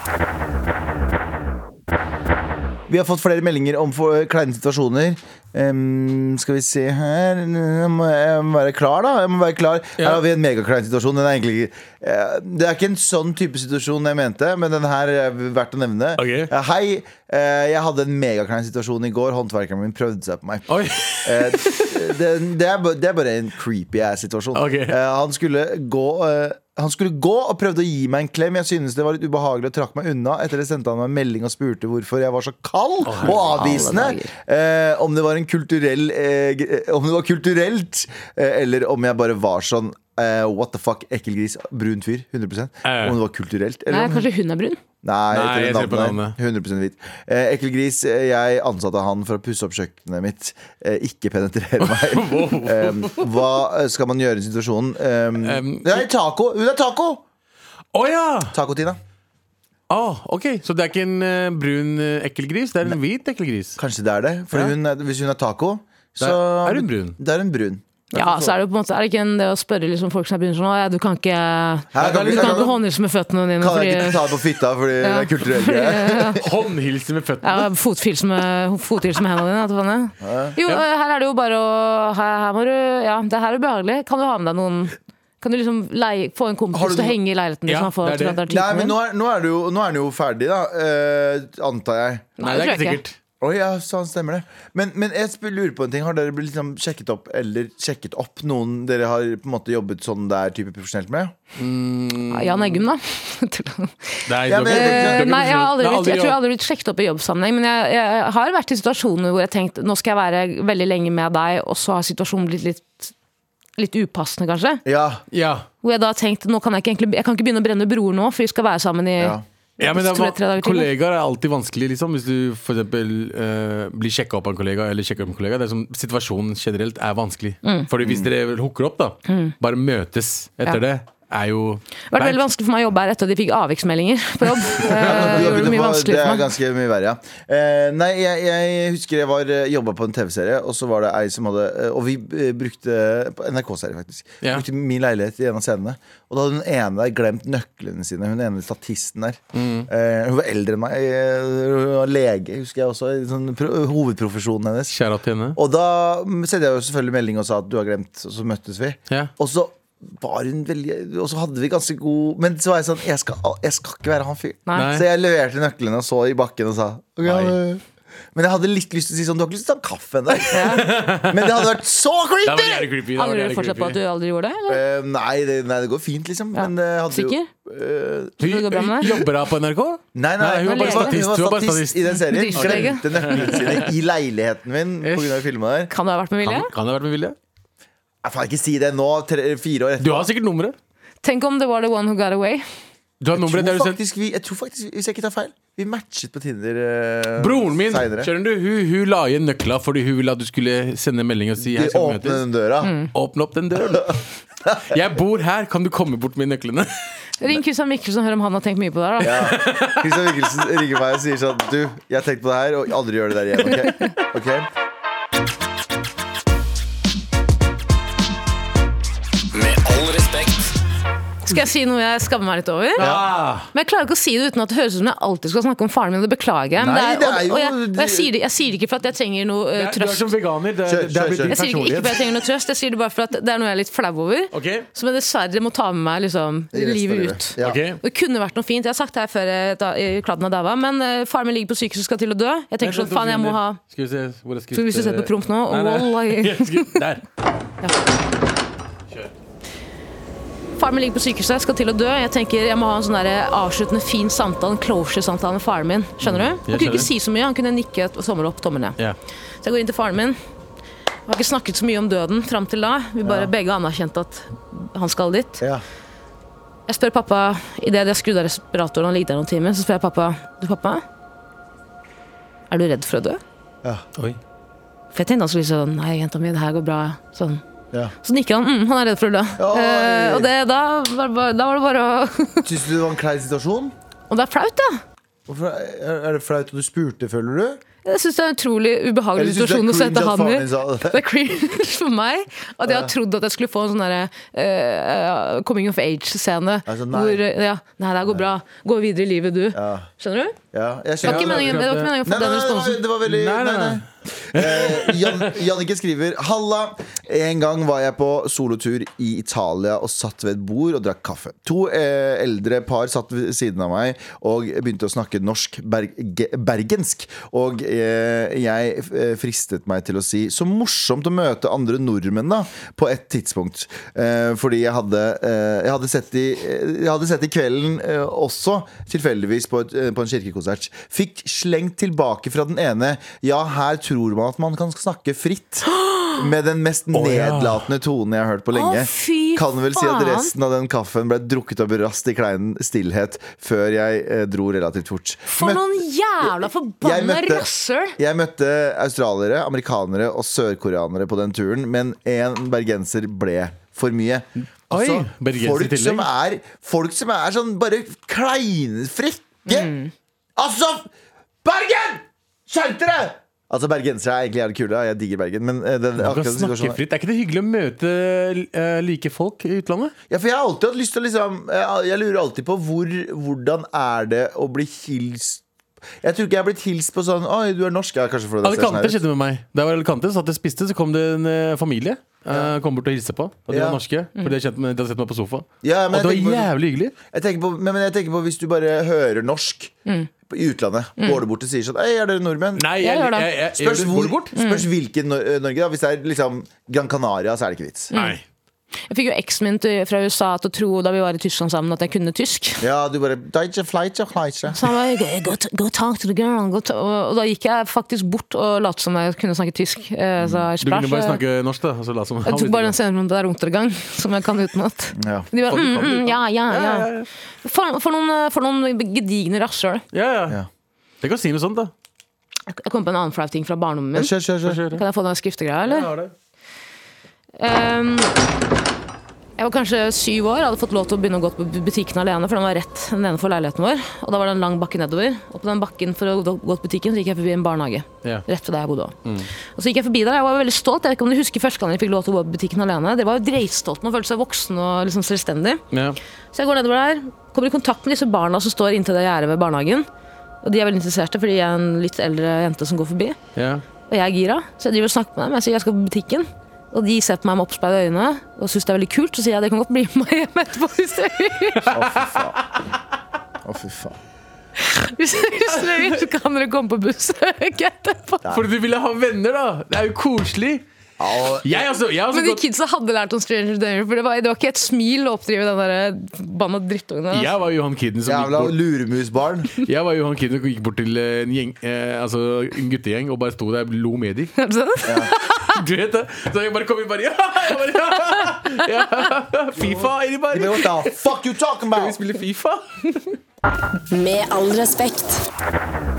[SPEAKER 3] Vi har fått flere meldinger om for kleine situasjoner. Ehm, skal vi se her jeg må, jeg må være klar, da. Jeg må være klar. Her har vi en megaklein situasjon. Den er egentlig ikke eh, Det er ikke en sånn type situasjon jeg mente, men den her er verdt å nevne.
[SPEAKER 4] Ok.
[SPEAKER 3] Eh, Hei, eh, jeg hadde en megaklein situasjon i går. Håndverkeren min prøvde seg på meg.
[SPEAKER 4] Oi.
[SPEAKER 3] Eh, det, det, er, ba- det er bare en creepy ass situasjon.
[SPEAKER 4] Ok.
[SPEAKER 3] Eh, han skulle gå eh, han skulle gå og prøvde å gi meg en klem. Jeg synes det var litt ubehagelig og trakk meg unna. Etter det sendte han meg en melding og spurte hvorfor jeg var så kald og avvisende. Eh, om det var en kulturell eh, g- eh, Om det var kulturelt, eh, eller om jeg bare var sånn eh, what the fuck, ekkel gris, brun fyr. 100
[SPEAKER 4] Eh.
[SPEAKER 3] Om det var kulturelt.
[SPEAKER 2] Nei,
[SPEAKER 3] Eller om
[SPEAKER 2] kanskje hun er brun?
[SPEAKER 3] Nei,
[SPEAKER 4] Nei,
[SPEAKER 3] jeg
[SPEAKER 4] jeg
[SPEAKER 3] tror
[SPEAKER 4] ser på
[SPEAKER 3] navnet. er 100 hvit. Eh, ekkel gris, eh, jeg ansatte han for å pusse opp kjøkkenet mitt. Eh, ikke penetrere meg. Em, hva eh, skal man gjøre i situasjonen? Em,
[SPEAKER 4] Em,
[SPEAKER 3] det er taco! Hun er taco!
[SPEAKER 4] Å ja!
[SPEAKER 3] Taco-Tina.
[SPEAKER 4] Ah, ok, Så det er ikke en eh, brun eh, ekkel gris, det er en hvit ekkel gris.
[SPEAKER 3] Kanskje det er det. For
[SPEAKER 4] Ja.
[SPEAKER 3] hun er, hvis hun er taco, så
[SPEAKER 4] er hun brun.
[SPEAKER 3] Da er hun brun.
[SPEAKER 2] Ja, så er det jo på en måte Er det ikke en, det å spørre liksom folk som er brune sånn «Å, ja, Du kan ikke
[SPEAKER 3] Her kan
[SPEAKER 2] Du
[SPEAKER 3] vi-
[SPEAKER 2] kan ikke håndhilse med føttene dine
[SPEAKER 3] Kan jeg
[SPEAKER 2] fordi
[SPEAKER 3] ikke ta det på fitta fordi det er kulturell greie?
[SPEAKER 4] Håndhilse med føttene.
[SPEAKER 2] ja, fothilse med, fothilse med hendene dine. vet du hva det er? Jo, eh, her er det jo bare å her, her må du, Ja, det her er ubehagelig. Kan du ha med deg noen Kan du liksom leie, få en
[SPEAKER 3] Har du
[SPEAKER 2] kompis til å
[SPEAKER 3] noen-
[SPEAKER 2] henge i leiligheten din?
[SPEAKER 4] Ja,
[SPEAKER 2] så han får,
[SPEAKER 4] det er
[SPEAKER 2] tror at det er
[SPEAKER 3] Nei,
[SPEAKER 2] typen
[SPEAKER 3] men
[SPEAKER 2] din?
[SPEAKER 3] nå er, nå er det jo, nå er den jo ferdig, da. Eh, antar jeg.
[SPEAKER 4] Nei, det er ikke
[SPEAKER 2] tror jeg
[SPEAKER 4] sikkert.
[SPEAKER 3] Å ja, sånn stemmer det. Men, men jeg spør- lurer på en ting. Har dere blitt liksom sjekket opp eller sjekket opp noen dere har på en måte jobbet sånn der type profesjonelt med?
[SPEAKER 2] Ja, Jan Eggum, da.
[SPEAKER 4] Nei,
[SPEAKER 3] Ja, men-
[SPEAKER 4] du har ikke- du har
[SPEAKER 2] Eh,
[SPEAKER 4] ikke
[SPEAKER 2] Nei, jeg, har aldri blitt, jeg tror jeg
[SPEAKER 4] Det har aldri-
[SPEAKER 2] har aldri blitt sjekket opp i jobbsammenheng, men jeg, jeg har vært i situasjoner hvor jeg har tenkt nå skal jeg være veldig lenge med deg, og så har situasjonen blitt litt, litt upassende, kanskje.
[SPEAKER 3] Ja.
[SPEAKER 4] Ja.
[SPEAKER 2] Hvor jeg da har tenkt nå kan jeg, ikke egentlig, jeg kan ikke begynne å brenne broer nå, for vi skal være sammen i
[SPEAKER 3] Ja.
[SPEAKER 4] ja, men det
[SPEAKER 2] Tror jeg tre
[SPEAKER 4] er,
[SPEAKER 2] dager til, da.
[SPEAKER 4] Kollegaer er alltid vanskelig, liksom. Hvis du for eksempel eh, blir sjekka opp av en kollega, eller sjekka opp en kollega. Det er som, situasjonen generelt er vanskelig. Fordi hvis dere hooker opp, da, bare møtes etter
[SPEAKER 2] Mm. Ja.
[SPEAKER 4] det, er jo
[SPEAKER 2] Det har vært veldig vanskelig for meg å jobbe her etter at de fikk avviksmeldinger på jobb. Eh,
[SPEAKER 3] Du
[SPEAKER 2] det
[SPEAKER 3] har
[SPEAKER 2] gjorde det
[SPEAKER 3] begynt å
[SPEAKER 2] mye
[SPEAKER 3] få-
[SPEAKER 2] vanskeligere
[SPEAKER 3] det er
[SPEAKER 2] for meg.
[SPEAKER 3] ganske mye verre, ja. Eh, nei, jeg, jeg husker jeg jobba på en TV-serie, og så var det ei som hadde eh, Og vi eh, brukte på NRK-serie, faktisk.
[SPEAKER 4] Ja.
[SPEAKER 3] Brukte min leilighet i en av scenene. Og da hadde hun ene der glemt nøklene sine. Hun ene statisten der. Eh, hun var eldre enn meg. eh, Hun var lege, husker jeg også. Sånn, pro hovedprofesjonen hennes.
[SPEAKER 4] Kjære til henne.
[SPEAKER 3] Og da mm, sendte jeg jo selvfølgelig melding og sa at du har glemt, og så møttes vi.
[SPEAKER 4] Ja.
[SPEAKER 3] Og så var hun veldig Og så hadde vi ganske god Men så var jeg sånn Jeg skal, jeg skal ikke være han fyren.
[SPEAKER 2] Nei.
[SPEAKER 4] Nei.
[SPEAKER 3] Så jeg leverte nøklene og så i bakken og sa «Ok,
[SPEAKER 4] Nei.
[SPEAKER 3] ha det». Men jeg hadde litt lyst til å si sånn Du har ikke lyst til å ta en kaffe ennå? Men det hadde vært så
[SPEAKER 4] Det var
[SPEAKER 3] creepy!
[SPEAKER 4] jævlig creepy. Det var
[SPEAKER 2] Angrer
[SPEAKER 4] jævlig
[SPEAKER 2] du fortsatt på at
[SPEAKER 4] creepy.
[SPEAKER 2] du aldri gjorde det? Eller?
[SPEAKER 3] Eh, nei, det, nei, det går fint, liksom. Men det hadde
[SPEAKER 2] Sikker?
[SPEAKER 3] jo eh,
[SPEAKER 2] det går bra med deg?
[SPEAKER 4] Jobber hun på NRK?
[SPEAKER 3] Nei, nei,
[SPEAKER 4] Nei, hun var
[SPEAKER 2] bare
[SPEAKER 3] det var-
[SPEAKER 4] statist.
[SPEAKER 3] Hun
[SPEAKER 4] Hun var
[SPEAKER 3] var
[SPEAKER 4] bare
[SPEAKER 3] statist i den serien.
[SPEAKER 2] Driftslege.
[SPEAKER 3] Glemte nøklene sine i leiligheten min pga. filma der.
[SPEAKER 2] Kan det ha vært med vilje?
[SPEAKER 4] Kan, kan det ha vært med vilje?
[SPEAKER 3] Jeg får ikke si det nå, tre, fire år etter.
[SPEAKER 4] Du har sikkert nummeret.
[SPEAKER 2] Tenk om det var the one who got away.
[SPEAKER 4] Du har nummeret der
[SPEAKER 3] tror
[SPEAKER 4] du sendte
[SPEAKER 3] faktisk, vi, jeg tror faktisk, hvis jeg ikke tar feil, vi matchet på Tinder eh,
[SPEAKER 4] Broren min
[SPEAKER 3] senere.
[SPEAKER 4] skjønner du, hun, hun la igjen nøkla fordi hun ville at du skulle sende melding og si
[SPEAKER 3] De
[SPEAKER 4] Hei, skal vi
[SPEAKER 3] åpner
[SPEAKER 4] møtes.
[SPEAKER 3] den døra.
[SPEAKER 4] Åpne opp den døren. Jeg bor her, kan du komme bort med nøklene?
[SPEAKER 2] Ring Christian Mikkelsen og hør om han har tenkt mye på det. her, Da.
[SPEAKER 3] Ja. Christian Mikkelsen ringer meg og sier sånn Du, jeg har tenkt på det her, og aldri gjør det der igjen. ok? Ok?
[SPEAKER 7] Med all respekt.
[SPEAKER 2] Skal jeg si noe jeg skammer meg litt over?
[SPEAKER 4] Ah,
[SPEAKER 2] Men jeg klarer ikke å si det uten at det høres ut som jeg alltid skal snakke om faren min. og Det beklager jeg. men
[SPEAKER 3] Nei,
[SPEAKER 2] det er, og,
[SPEAKER 3] det er
[SPEAKER 2] og jeg,
[SPEAKER 3] jo-
[SPEAKER 2] og jeg, sier det, jeg sier det ikke for at jeg trenger noe eh,
[SPEAKER 4] det er- Du er
[SPEAKER 2] trøst.
[SPEAKER 4] som veganer. Det,
[SPEAKER 3] Kjør,
[SPEAKER 4] er- det
[SPEAKER 3] kjør,
[SPEAKER 4] er blitt
[SPEAKER 3] kjør.
[SPEAKER 4] din
[SPEAKER 2] Jeg sier det ikke, ikke for at jeg
[SPEAKER 4] personlighet.
[SPEAKER 2] trenger noe trøst, jeg sier det bare for at det er noe jeg er litt flau over.
[SPEAKER 4] Ok,
[SPEAKER 2] Som jeg dessverre må ta med meg liksom,
[SPEAKER 3] I resten av
[SPEAKER 2] livet ut.
[SPEAKER 3] livet. Ja.
[SPEAKER 4] ok.
[SPEAKER 2] Det kunne vært noe fint. Jeg har sagt det her før eh, da, i kladden av dava, men eh, faren min ligger på sykehuset og skal til å dø. Jeg tenker sånn, faen, jeg må ha
[SPEAKER 4] Skal vi se hvor jeg
[SPEAKER 2] Skal vi se på prompt nå?
[SPEAKER 4] Nei, nei.
[SPEAKER 2] Wallahi.
[SPEAKER 4] Skriv- Der.
[SPEAKER 2] Faren min ligger på sykehuset, jeg skal til å dø. Jeg tenker jeg må ha en sånn der avsluttende fin samtale, en closure-samtale med faren min. Skjønner du? Han kunne
[SPEAKER 4] skjønner.
[SPEAKER 2] ikke si så mye, han kunne nikke et- tommel opp, tommel ned.
[SPEAKER 4] Ja.
[SPEAKER 2] Så jeg går inn til faren min. Jeg har ikke snakket så mye om døden fram til da. Vi bare begge anerkjente at han skal dit.
[SPEAKER 3] Ja.
[SPEAKER 2] Jeg spør pappa, idet jeg skrudde av respiratoren og han ligger der noen timer, så spør jeg pappa Du, pappa? Er du redd for å dø?
[SPEAKER 4] Oi.
[SPEAKER 2] For jeg tenkte han skulle si sånn Nei, jenta mi, det her går bra. Sånn.
[SPEAKER 3] Ja.
[SPEAKER 2] Så nikker han. Mm, han er redd for å dø.
[SPEAKER 3] Oi.
[SPEAKER 2] Eh, og det, da, var det bare, da var det bare å
[SPEAKER 3] Syns du det var en klein situasjon?
[SPEAKER 2] Og det er flaut, da.
[SPEAKER 3] Hvorfor er er det flaut at du spurte, føler du?
[SPEAKER 2] Jeg syns det er en utrolig ubehagelig
[SPEAKER 3] Eller syns du
[SPEAKER 2] situasjon å
[SPEAKER 3] det er
[SPEAKER 2] sette
[SPEAKER 3] cringe at
[SPEAKER 2] han i.
[SPEAKER 3] faren din sa det?
[SPEAKER 2] Det er cringe for meg at jeg har trodd at jeg skulle få en sånn derre eh, coming of age-scene.
[SPEAKER 3] Altså, nei.
[SPEAKER 2] hvor eh, ja, Nei, det her går bra. Gå videre i livet, du.
[SPEAKER 3] Ja.
[SPEAKER 2] Skjønner du?
[SPEAKER 3] ja. Jeg
[SPEAKER 2] Det var
[SPEAKER 3] skjønner-
[SPEAKER 2] ikke meningen, det var ikke meningen å få
[SPEAKER 3] Nei,
[SPEAKER 2] den
[SPEAKER 3] nei, nei,
[SPEAKER 2] responsen.
[SPEAKER 3] det var veldig
[SPEAKER 4] Nei, nei, nei.
[SPEAKER 3] Eh, Jan, Jannike skriver Halla, en gang var jeg på solotur i Italia Og satt ved et bord og drakk kaffe To eh, eldre par satt ved siden av meg Og begynte å snakke norsk berg Bergensk Og eh, jeg eh, fristet meg til å si Så morsomt å møte andre nordmenn da På et tidspunkt eh, Fordi jeg hadde, eh, jeg hadde sett de eh, Jeg hadde sett de kvelden eh, også Tilfeldigvis på, et, eh, på en kirkekonsert Fikk slengt tilbake fra den ene Ja, her tror man at man kan snakke fritt Med den mest nedlatende tonen jeg har hørt på lenge
[SPEAKER 2] fy
[SPEAKER 3] Kan vel si at
[SPEAKER 2] faen.
[SPEAKER 3] resten av den kaffen ble drukket opp i rast i kleinen stillhet Før jeg eh, dro relativt fort
[SPEAKER 2] For
[SPEAKER 3] Møtte-
[SPEAKER 2] noen jævla
[SPEAKER 3] jeg
[SPEAKER 2] forbanna
[SPEAKER 3] møtte,
[SPEAKER 2] rasshøl!
[SPEAKER 3] jeg møtte australiere, amerikanere og sørkoreanere på den turen, men én bergenser ble for mye. Altså,
[SPEAKER 4] Oi, bergenser i
[SPEAKER 3] folk,
[SPEAKER 4] tillegg.
[SPEAKER 3] som er, folk som er sånn bare kleine, frekke Altså, Bergen! Skjerp dere! Altså, bergensere er egentlig jævlig kule. da. Jeg digger Bergen. Men eh, den,
[SPEAKER 4] Du
[SPEAKER 3] akkurat
[SPEAKER 4] kan
[SPEAKER 3] den
[SPEAKER 4] snakke
[SPEAKER 3] situasjonen
[SPEAKER 4] fritt. Er ikke det hyggelig å møte eh, like folk i utlandet?
[SPEAKER 3] Ja, for jeg har alltid hatt lyst til å liksom Jeg, jeg lurer alltid på hvor, hvordan er det å bli hilst Jeg tror ikke jeg har blitt hilst på sånn Oi, du er norsk. Ja, kanskje fordi det ser sånn her
[SPEAKER 4] Alicante
[SPEAKER 3] ut.
[SPEAKER 4] skjedde med meg. Da jeg var i Alicante, satt jeg og spiste, så kom det en eh, familie. eh, kom bort og hilste på. Og de
[SPEAKER 3] Ja.
[SPEAKER 4] var norske. For de hadde, kjent meg, de hadde sett meg på sofa.
[SPEAKER 3] Ja,
[SPEAKER 4] og
[SPEAKER 3] men
[SPEAKER 4] det var
[SPEAKER 3] jeg tenker på-
[SPEAKER 4] jævlig hyggelig.
[SPEAKER 3] Jeg tenker på, men, men jeg tenker på hvis du bare hører norsk på- i utlandet, går du bort og sier sånn Hei, er dere nordmenn?
[SPEAKER 4] Nei,
[SPEAKER 2] Jeg
[SPEAKER 4] jeg,
[SPEAKER 2] gjør
[SPEAKER 4] jeg,
[SPEAKER 2] det.
[SPEAKER 4] jeg, jeg,
[SPEAKER 3] Spørs,
[SPEAKER 4] Går
[SPEAKER 3] hvor, Mm.
[SPEAKER 4] du bort?
[SPEAKER 3] spørs hvilken Nor- eh, Norge, da. Hvis det er liksom Gran Canaria, så er det ikke
[SPEAKER 2] Mm.
[SPEAKER 3] vits.
[SPEAKER 4] Nei.
[SPEAKER 2] Jeg fikk jo eksen min til- fra USA til å tro da vi var i Tyskland sammen at jeg kunne tysk.
[SPEAKER 3] Ja, du bare Deutsche Fleische, Fleische.
[SPEAKER 2] Så han var, go, go talk to the girl go ta og, og da gikk jeg faktisk bort og lot som jeg kunne snakke tysk. Eh, så jeg
[SPEAKER 4] Du kunne
[SPEAKER 2] sprash,
[SPEAKER 4] bare
[SPEAKER 2] eh,
[SPEAKER 4] snakke norsk, da. Og så la som
[SPEAKER 2] Jeg tok bare den scenen om det der Untergang, som jeg kan utenat.
[SPEAKER 3] Ja.
[SPEAKER 2] De bare,
[SPEAKER 4] Faen, du
[SPEAKER 2] mm,
[SPEAKER 4] kan det
[SPEAKER 2] mm, ja, ja, ja.
[SPEAKER 4] Ja, ja,
[SPEAKER 2] For, for, noen, eh, for noen gedigne rasshøl.
[SPEAKER 4] ja,
[SPEAKER 3] Ja.
[SPEAKER 4] ja. Det kan si noe sånt, da.
[SPEAKER 2] Jeg kom på en annen flau ting fra barndommen min.
[SPEAKER 3] Kjør, kjør, kjør.
[SPEAKER 2] Kan jeg få den skriftegreia, eller?
[SPEAKER 4] Ja, det.
[SPEAKER 2] Ehm, jeg var kanskje syv år, hadde fått lov til å begynne å gå på bu- butikken alene, for den var rett nede for leiligheten vår. Og da var det en lang bakke nedover. Og på den bakken for å gå gå til butikken, så gikk jeg forbi en barnehage.
[SPEAKER 4] Ja.
[SPEAKER 2] Rett ved der jeg bodde også. Og så gikk jeg forbi der, jeg var veldig stolt. Jeg vet ikke om du husker første gang jeg fikk lov til å gå på butikken alene. Det var jo dritstolt, man følte seg voksen og liksom selvstendig.
[SPEAKER 4] Ja.
[SPEAKER 2] Så jeg går nedover der, kommer i kontakt med disse barna som står inntil det gjerdet ved barnehagen. Og de er veldig interesserte, fordi jeg er en litt eldre jente som går forbi.
[SPEAKER 4] Ja.
[SPEAKER 2] Og jeg er gira, så jeg driver og snakker med dem. Jeg sier jeg skal på butikken. Og de ser på meg med oppspeide øyne og syns det er veldig kult. Så sier jeg det kan godt bli med meg hjem etterpå hvis dere vil.
[SPEAKER 3] Å, fy faen. Å, fy faen.
[SPEAKER 2] Hvis hvis dere vil, så kan dere komme på besøk etterpå.
[SPEAKER 4] Fordi du ville ha venner, da! Det er jo koselig!
[SPEAKER 3] Au.
[SPEAKER 4] Jeg, altså, jeg har også
[SPEAKER 2] Men de
[SPEAKER 4] gått
[SPEAKER 2] kidsa hadde lært om Stranger Danger, for det var, det var ikke et smil å oppdrive den der eh, banna drittungen. der, altså.
[SPEAKER 4] Jeg var Johan Kidden som gikk
[SPEAKER 3] Jævla
[SPEAKER 4] bort
[SPEAKER 3] luremusbarn.
[SPEAKER 4] Jeg var Johan Kidden og gikk bort til eh, en, gjeng, eh, altså, en guttegjeng og bare sto der og lo med de.
[SPEAKER 2] Er det sant?
[SPEAKER 4] Du vet det? Så jeg bare kom inn bare Ja! Jeg bare, ja, ja Fifa,
[SPEAKER 3] Men
[SPEAKER 4] anybody?
[SPEAKER 3] What the fuck you talking
[SPEAKER 4] Skal vi
[SPEAKER 3] about?
[SPEAKER 4] spille Fifa?
[SPEAKER 1] Med all respekt.
[SPEAKER 4] Mm.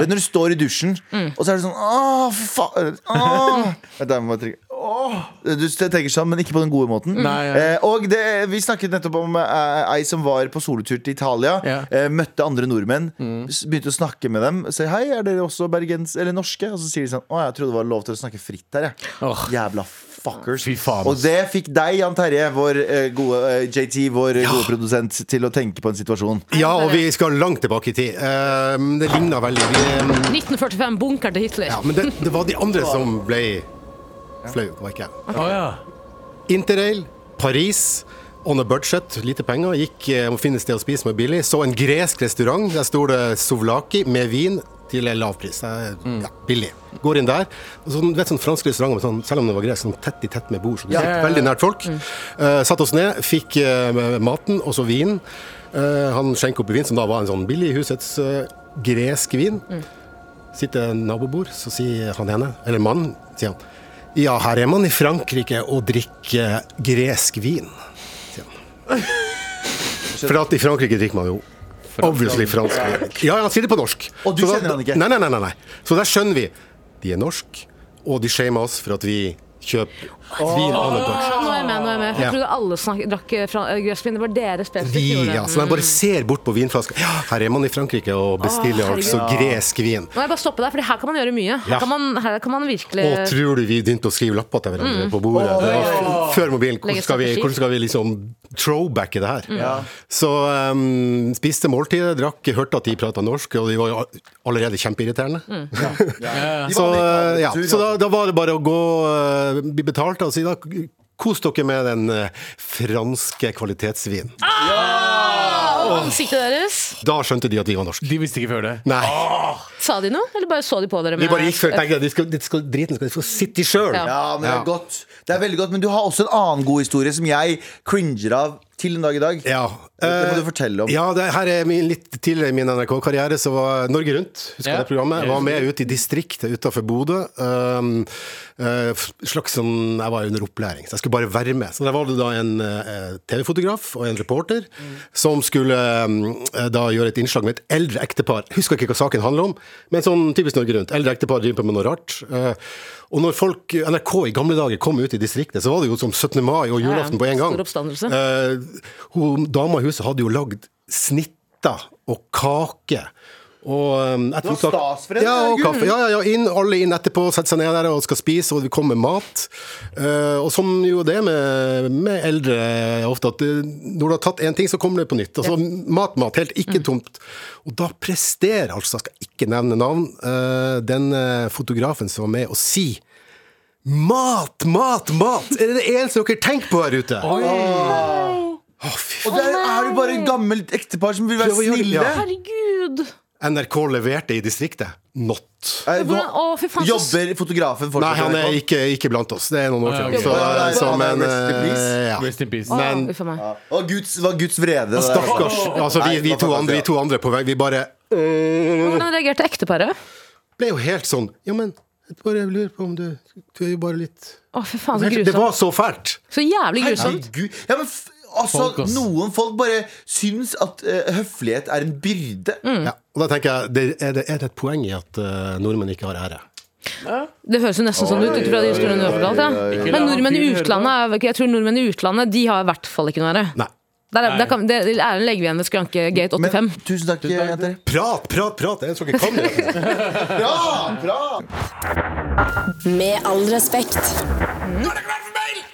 [SPEAKER 3] Det er når du står i dusjen, og så er det sånn Å, for faen. Å. Vent, da må jeg trykke. Å, Du tenker sånn, men ikke på den gode måten.
[SPEAKER 4] Mm. Nei, ja.
[SPEAKER 3] Eh, og det, vi snakket nettopp om eh, ei som var på solotur til Italia.
[SPEAKER 4] Ja. Mm.
[SPEAKER 3] Eh, møtte andre nordmenn. s- Begynte å snakke med dem. Sier hei, er dere også bergens eller norske? Og så sier de sånn Å, jeg trodde det var lov til å snakke fritt her, jeg.
[SPEAKER 4] Åh.
[SPEAKER 3] Jævla fuckers.
[SPEAKER 4] Fy faen,
[SPEAKER 3] og
[SPEAKER 4] ass.
[SPEAKER 3] det fikk deg, Jan Terje, vår eh, gode eh, JT, vår eh, gode produsent, til å tenke på en situasjon.
[SPEAKER 8] Ja, og vi skal langt tilbake i tid. Eh, men det ligna veldig. Vi, eh,
[SPEAKER 2] 1945, bunker til Hitler.
[SPEAKER 8] ja, men det, det var de andre som ble flau. Det var ikke jeg.
[SPEAKER 4] Å ja.
[SPEAKER 8] Interrail, Paris. On a budget, lite penger. Gikk eh, må finne et sted å spise som er billig. Så en gresk restaurant. Der sto det souvlaki med vin til en lav pris. Eh,
[SPEAKER 4] Mm.
[SPEAKER 8] Ja, billig. Går inn der. Og så, du vet, sånn fransk restaurant, men sånn, selv om det var gresk, sånn tett i tett med bord. Så du
[SPEAKER 4] Ja,
[SPEAKER 8] sitter
[SPEAKER 4] ja, Mm. ja.
[SPEAKER 8] veldig nært folk. Eh, satt oss ned, fikk eh, maten, og så vinen. Eh, han skjenker opp i vin, som da var en sånn billig husets eh, gresk vin.
[SPEAKER 4] Mm.
[SPEAKER 8] Sitter en nabobord, så sier han ene, eller mannen, sier han Ja, her er man i Frankrike og drikker gresk vin, sier han. For at i Frankrike drikker man jo obviously fransk vin. Ja, ja, han sier det på norsk.
[SPEAKER 3] Og du
[SPEAKER 8] Så da-
[SPEAKER 3] kjenner han ikke?
[SPEAKER 8] Nei, nei, nei, nei, nei. Så der skjønner vi. De er norsk, og de shamer oss for at vi kjøper vin av noe norsk.
[SPEAKER 2] Ja, Nå er jeg med, nå er jeg med. For
[SPEAKER 8] Ja.
[SPEAKER 2] jeg trodde alle snak, drakk eh, fra- eh, gressvin. Det var dere spesifikt.
[SPEAKER 8] Vi,
[SPEAKER 2] gjorde det.
[SPEAKER 8] ja, så de bare ser bort på vinflaska. Ja, her er man i Frankrike og bestiller
[SPEAKER 2] Å,
[SPEAKER 8] altså gresk vin.
[SPEAKER 2] Nå må jeg bare stoppe der, for her kan man gjøre mye. Her
[SPEAKER 8] Ja.
[SPEAKER 2] kan man, her kan man virkelig
[SPEAKER 8] Og tror du vi begynte å skrive lapper til hverandre på bordet? Det var f- før mobilen.
[SPEAKER 2] Mm. Legge
[SPEAKER 8] Hvordan skal vi,
[SPEAKER 2] strategi. Mm.
[SPEAKER 8] hvordan skal vi liksom throwbacke det her? Så um, spiste måltidet, drakk, hørte at de prata norsk, og de var jo all- allerede kjempeirriterende.
[SPEAKER 2] Mm.
[SPEAKER 8] Så, uh, ja. så da, da var det bare å gå, uh, bli betalt og si da Kos dere med den uh, franske kvalitetsvinen.
[SPEAKER 2] Ah! Ansiktet deres.
[SPEAKER 8] Da skjønte de at vi var norske.
[SPEAKER 4] De visste ikke før det.
[SPEAKER 8] Nei.
[SPEAKER 2] Ah! Sa de noe, eller bare så de på dere?
[SPEAKER 8] Vi
[SPEAKER 2] med-
[SPEAKER 8] bare gikk før og tenkte at de skal, de skal, driten skal de få sitte i sjøl.
[SPEAKER 2] Ja.
[SPEAKER 3] Ja, men det
[SPEAKER 8] Ja.
[SPEAKER 3] er godt. Det er veldig godt, men du har også en annen god historie som jeg cringer av til en dag i dag.
[SPEAKER 8] Ja.
[SPEAKER 3] Det må
[SPEAKER 8] eh,
[SPEAKER 3] du fortelle om.
[SPEAKER 8] Ja, det her er min, litt tidligere i min NRK-karriere, så var Norge Rundt, husker
[SPEAKER 4] Ja.
[SPEAKER 8] det programmet,
[SPEAKER 4] Jeg
[SPEAKER 8] var
[SPEAKER 4] husker
[SPEAKER 8] med ut i distriktet utenfor Bodø. Um, eh, f- slags sånn, jeg var under opplæring, så jeg skulle bare være med. Så der var det da en eh, TV-fotograf og en reporter som skulle eh, da gjøre et innslag med et eldre ektepar. Husker ikke hva saken handler om, men sånn typisk Norge Rundt. Eldre ektepar driver på med noe rart. Eh, og når folk, NRK i gamle dager kom ut i distriktet, så var det jo som 17. mai og
[SPEAKER 2] ja.
[SPEAKER 8] julaften på en gang.
[SPEAKER 2] Stor oppstandelse.
[SPEAKER 8] Eh, hun, dama i huset hadde jo lagd snitter og kake. Og, um, etter
[SPEAKER 3] Det var
[SPEAKER 8] opptak-
[SPEAKER 3] stas for henne,
[SPEAKER 8] Ja, og
[SPEAKER 3] herregud.
[SPEAKER 8] kaffe. Ja, ja, ja, inn, alle inn etterpå, setter seg ned der og skal spise, og det kommer mat. Eh, og som jo det med, med eldre er ofte, at eh, når du har tatt én ting, så kommer det på nytt. Altså mat, mat, helt ikke
[SPEAKER 2] Mm.
[SPEAKER 8] tomt. Og da presterer, altså, jeg skal ikke nevne navn, eh, den eh, fotografen som var med, å si Mat, mat, mat! Er det det eneste dere tenker på her ute? Å, fy
[SPEAKER 3] Og der er du bare et gammelt ektepar som vil være
[SPEAKER 8] Prøv å gjøre det,
[SPEAKER 3] snille.
[SPEAKER 8] ja.
[SPEAKER 2] Herregud!
[SPEAKER 8] NRK leverte i distriktet. Not.
[SPEAKER 3] Eh,
[SPEAKER 2] Hvordan,
[SPEAKER 3] nå
[SPEAKER 2] å, fy faen, så
[SPEAKER 3] jobber fotografen
[SPEAKER 8] Nei,
[SPEAKER 3] fortsatt.
[SPEAKER 8] han
[SPEAKER 3] i
[SPEAKER 8] er
[SPEAKER 3] NRK?
[SPEAKER 8] ikke, ikke blant oss. Det er noen år
[SPEAKER 4] Ah,
[SPEAKER 8] siden.
[SPEAKER 4] ja, ok.
[SPEAKER 8] Så,
[SPEAKER 3] Ja, ja, ja,
[SPEAKER 8] så,
[SPEAKER 3] ja,
[SPEAKER 8] men
[SPEAKER 3] rest in peace.
[SPEAKER 8] eh, ja.
[SPEAKER 4] Rest in peace.
[SPEAKER 2] Å,
[SPEAKER 8] men-
[SPEAKER 2] uff a meg.
[SPEAKER 3] Å, Guds, var Guds vrede. det der, altså.
[SPEAKER 8] Stakkars. Altså, vi, vi,
[SPEAKER 3] Nei,
[SPEAKER 8] to
[SPEAKER 3] fantastisk,
[SPEAKER 8] andre,
[SPEAKER 3] ja.
[SPEAKER 8] vi to andre på vei, vi bare
[SPEAKER 2] Hvordan reagerte ekteparet?
[SPEAKER 8] ble jo helt sånn Ja, men jeg bare lurer på om du Du er jo bare litt
[SPEAKER 2] Å, fy faen, så
[SPEAKER 8] Det
[SPEAKER 2] grusomt.
[SPEAKER 8] var så fælt!
[SPEAKER 2] Så jævlig grusomt.
[SPEAKER 3] Herregud. Ja, men f altså,
[SPEAKER 4] Folk, ass.
[SPEAKER 3] noen folk bare syns at eh, høflighet er en byrde.
[SPEAKER 2] Mm.
[SPEAKER 8] Ja, og da tenker jeg, det, er, det, er det et poeng i at eh, nordmenn ikke har ære?
[SPEAKER 2] Det høres jo nesten sånn ut ut fra de historiene du har fortalt. Ja. Men nordmenn i utlandet er- jeg tror nordmenn i utlandet De har i hvert fall ikke noe ære.
[SPEAKER 8] Nei.
[SPEAKER 2] Der, er- der kan, det, æren legger vi igjen ved skranke gate
[SPEAKER 3] Men
[SPEAKER 2] 85.
[SPEAKER 3] tusen takk, jenter.
[SPEAKER 8] Prat, prat, prat! Det er en som ikke kan det.
[SPEAKER 3] Bra! bra.
[SPEAKER 1] Med all respekt.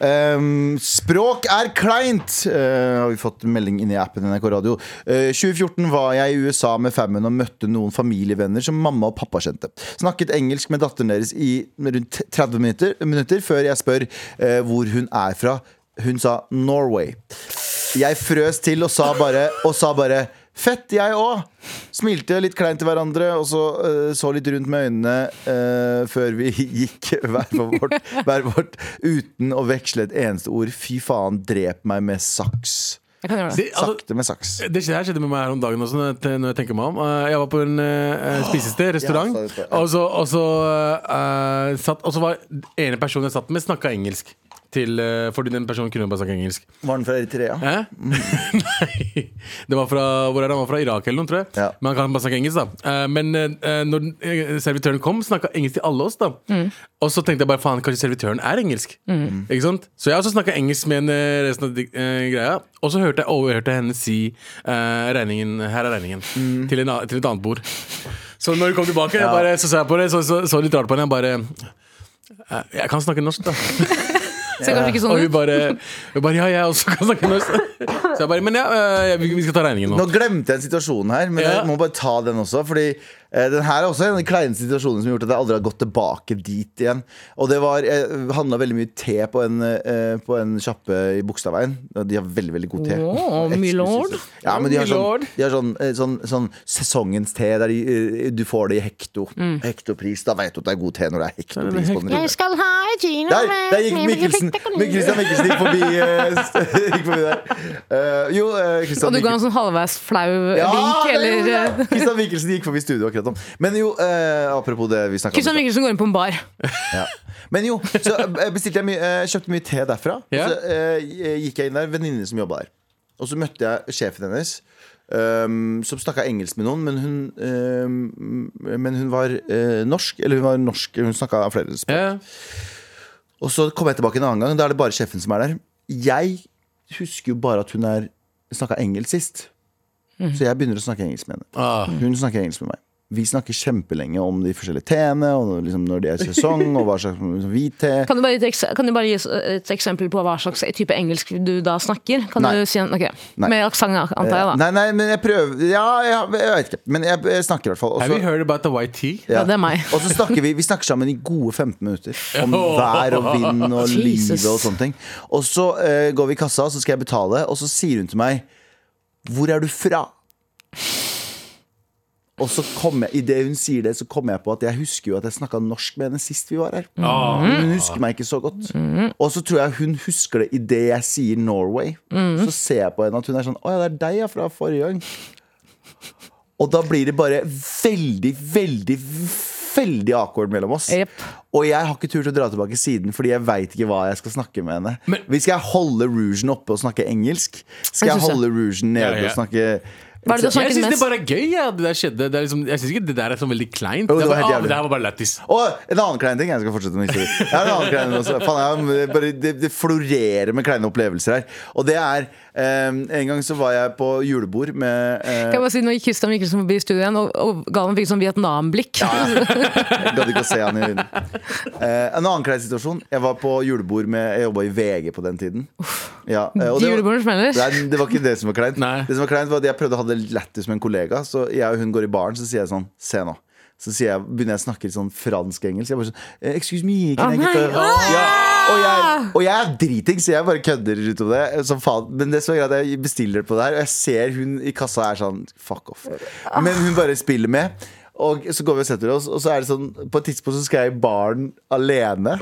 [SPEAKER 3] Ehm, språk er kleint, eh, har vi fått melding inne i appen NRK Radio. Eh, 2014 var jeg i USA med fammen og møtte noen familievenner som mamma og pappa kjente. Snakket engelsk med datteren deres i rundt 30 minutter, minutter før jeg spør eh, hvor hun er fra. Hun sa Norway. Jeg frøs til og sa bare, og sa bare Fett, jeg òg! Smilte litt kleint til hverandre og så, eh, så litt rundt med øynene eh, før vi gikk hver på vårt, hver vårt uten å veksle et eneste ord. Fy faen, drep meg med saks.
[SPEAKER 2] Jeg kan gjøre det.
[SPEAKER 4] Det, altså,
[SPEAKER 3] Sakte med saks.
[SPEAKER 4] det skjedde, her skjedde med meg her om dagen også, når jeg, te- når jeg tenker meg om. Eh, jeg var på en eh, spisested, restaurant,
[SPEAKER 3] Ja, sa du det, ja.
[SPEAKER 4] og så, og så, eh, satt, og så var ene personen jeg satt med, snakka engelsk. til, eh, fordi den personen kunne bare snakke engelsk.
[SPEAKER 3] Var den fra Eritrea?
[SPEAKER 4] Hæ? Nei. Det var fra, hvor er det? Han var fra Irak eller noe, tror jeg.
[SPEAKER 3] Ja.
[SPEAKER 4] Men han kan bare snakke engelsk, da. Eh, Men eh, når den- eh, servitøren kom, snakka engelsk til alle oss, da. Og så tenkte jeg bare faen, kanskje servitøren er engelsk. Ikke sant? Så jeg også snakka engelsk med henne resten av di- eh, greia. Og så hørte jeg overhørte henne si eh, regningen, her er regningen, til, en, a- til et annet bord. Så når hun kom tilbake, jeg bare, så sa jeg på det, så, så, så litt rart på henne. Jeg bare eh, Jeg kan snakke norsk, da.
[SPEAKER 2] Ser kanskje ikke sånn
[SPEAKER 4] Og hun
[SPEAKER 2] ut.
[SPEAKER 4] bare, hun bare Ja, jeg også kan snakke norsk. Så jeg bare Men ja, eh, vi vi skal ta regningen nå.
[SPEAKER 3] Nå glemte jeg en situasjon her, men
[SPEAKER 4] Ja.
[SPEAKER 3] jeg må bare ta den også. Fordi eh, den her er også en av de kleine situasjonene som har gjort at jeg aldri har gått tilbake dit igjen. Og det var, Jeg handla veldig mye te på en, eh, på en sjappe i Bogstadveien. Og De har veldig veldig god te.
[SPEAKER 2] Åh, Milord.
[SPEAKER 3] Eksklusivt. Ja, men de har
[SPEAKER 4] Milord.
[SPEAKER 3] sånn, de har sånn, eh, sånn, sånn sesongens te der de, eh, du får det i hekto. Hektopris. Da vet du at det er god te når det er hektopris på den.
[SPEAKER 6] Jeg skal ha en gino
[SPEAKER 3] Der, der gikk Mikkelsen Mik- Christian Mikkelsen gikk forbi, eh, gikk forbi der. Eh, jo, eh, Christian
[SPEAKER 2] Og du ga en
[SPEAKER 3] Mikkelsen
[SPEAKER 2] sånn halvveis flau
[SPEAKER 3] Ja,
[SPEAKER 2] vink,
[SPEAKER 3] det gjorde
[SPEAKER 2] eller
[SPEAKER 3] jeg. Christian Mikkelsen gikk forbi studio akkurat om. Men jo, eh, apropos det vi snakka
[SPEAKER 2] Kristian
[SPEAKER 3] om.
[SPEAKER 2] Mikkelsen går inn på en bar.
[SPEAKER 3] Ja. Men jo, så eh, bestilte jeg mye, eh, kjøpte mye te derfra.
[SPEAKER 4] Ja.
[SPEAKER 3] Og så eh, gikk jeg inn der, venninne som jobba der. Og så møtte jeg sjefen hennes. ehm, som snakka engelsk med noen, men hun, ehm, men hun var eh, norsk. Eller hun var norsk, hun snakka flere språk.
[SPEAKER 4] Ja.
[SPEAKER 3] Og så kom jeg tilbake en annen gang, og da er det bare sjefen som er der. Jeg husker jo bare at hun er snakka engelsk sist. Så jeg begynner å snakke engelsk med henne.
[SPEAKER 4] Ah.
[SPEAKER 3] Hun snakker engelsk med meg. Vi snakker kjempelenge om de forskjellige teene, og liksom når det er sesong, og hva slags hvit te.
[SPEAKER 2] Kan du bare, gi et ekse- kan du bare gi oss et eksempel på hva slags type engelsk du da snakker? Kan
[SPEAKER 3] Nei.
[SPEAKER 2] du si en, ok,
[SPEAKER 3] Nei.
[SPEAKER 2] Med aksent, antar jeg, da.
[SPEAKER 3] Nei, nei, men jeg prøver Ja, jeg, jeg vet ikke. Men jeg, jeg snakker i hvert fall. og
[SPEAKER 4] Have you
[SPEAKER 3] så-
[SPEAKER 4] heard about the white tea?
[SPEAKER 2] Ja, det er meg.
[SPEAKER 3] Og så snakker vi, vi snakker sammen i gode 15 minutter om vær og vind og
[SPEAKER 2] Jesus.
[SPEAKER 3] livet og sånne ting. Og så eh, går vi i kassa, så skal jeg betale, og så sier hun til meg Hvor er du fra? Og så kom jeg, i det hun sier det, så kommer jeg på at jeg husker jo at jeg snakka norsk med henne sist vi var her.
[SPEAKER 4] Ah.
[SPEAKER 3] Men hun husker meg ikke så godt.
[SPEAKER 2] Mm-hmm.
[SPEAKER 3] Og så tror jeg hun husker det idet jeg sier Norway.
[SPEAKER 2] Mm-hmm.
[SPEAKER 3] Så ser jeg på henne at hun er sånn Å ja, det er deg ja, fra forrige gang. Og da blir det bare veldig, veldig, veldig awkward mellom oss.
[SPEAKER 2] Jep.
[SPEAKER 3] Og jeg har ikke turt å dra tilbake siden, fordi jeg veit ikke hva jeg skal snakke med henne.
[SPEAKER 4] Men-
[SPEAKER 3] Hvis skal jeg holde rougen oppe og snakke engelsk? Skal
[SPEAKER 2] Jeg
[SPEAKER 3] jeg
[SPEAKER 2] synes det.
[SPEAKER 3] holde rougen nede
[SPEAKER 4] Ja, ja.
[SPEAKER 3] og snakke
[SPEAKER 2] Hva er det du
[SPEAKER 4] Jeg
[SPEAKER 2] snakker
[SPEAKER 4] syns det
[SPEAKER 2] mest?
[SPEAKER 4] bare er gøy. Ja, det der skjedde det er liksom, Jeg syns ikke det der er så veldig kleint.
[SPEAKER 3] Jo, det
[SPEAKER 4] er
[SPEAKER 3] var
[SPEAKER 4] bare,
[SPEAKER 3] helt
[SPEAKER 4] ah, men
[SPEAKER 3] jævlig.
[SPEAKER 4] det her var bare lættis.
[SPEAKER 3] Og en annen klein ting. Jeg skal fortsette med historien. Jeg har en annen klein også. Faen, jeg, har- bare, det, det florerer med kleine opplevelser her. Og det er eh, En gang så var jeg på julebord med eh,
[SPEAKER 2] Kan jeg bare si, Nå gikk Kristian Mikkelsen forbi studio igjen, og, og Galvan fikk sånn Vietnam-blikk.
[SPEAKER 3] Jeg gadd ikke å se han i øynene. Eh, en annen klein situasjon. Jeg var på julebord med Jeg jobba i VG på den tiden. Ja, eh, og
[SPEAKER 2] De
[SPEAKER 3] det var-
[SPEAKER 2] julebordene smeller.
[SPEAKER 3] Nei, det var ikke det som var kleint.
[SPEAKER 4] Nei.
[SPEAKER 3] Det som var kleint var at Jeg prøvde å ha det lættis med en kollega. Så jeg og hun går i baren, så sier jeg sånn Se nå. Så sier jeg, begynner jeg å snakke litt sånn fransk-engelsk. Jeg bare sånn eh, Excuse me, can I get a-" ja, og, jeg, og jeg er driting, så jeg bare kødder ut om det. Som faen. Men det som er greit, er at jeg bestiller på det her, og jeg ser hun i kassa er sånn Fuck off. Men hun bare spiller med. Og så går vi og setter oss, og så er det sånn på et tidspunkt så skal jeg i baren alene.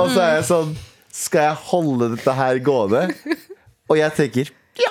[SPEAKER 3] Og så er jeg sånn Skal jeg holde dette her gående? Og jeg tenker Ja,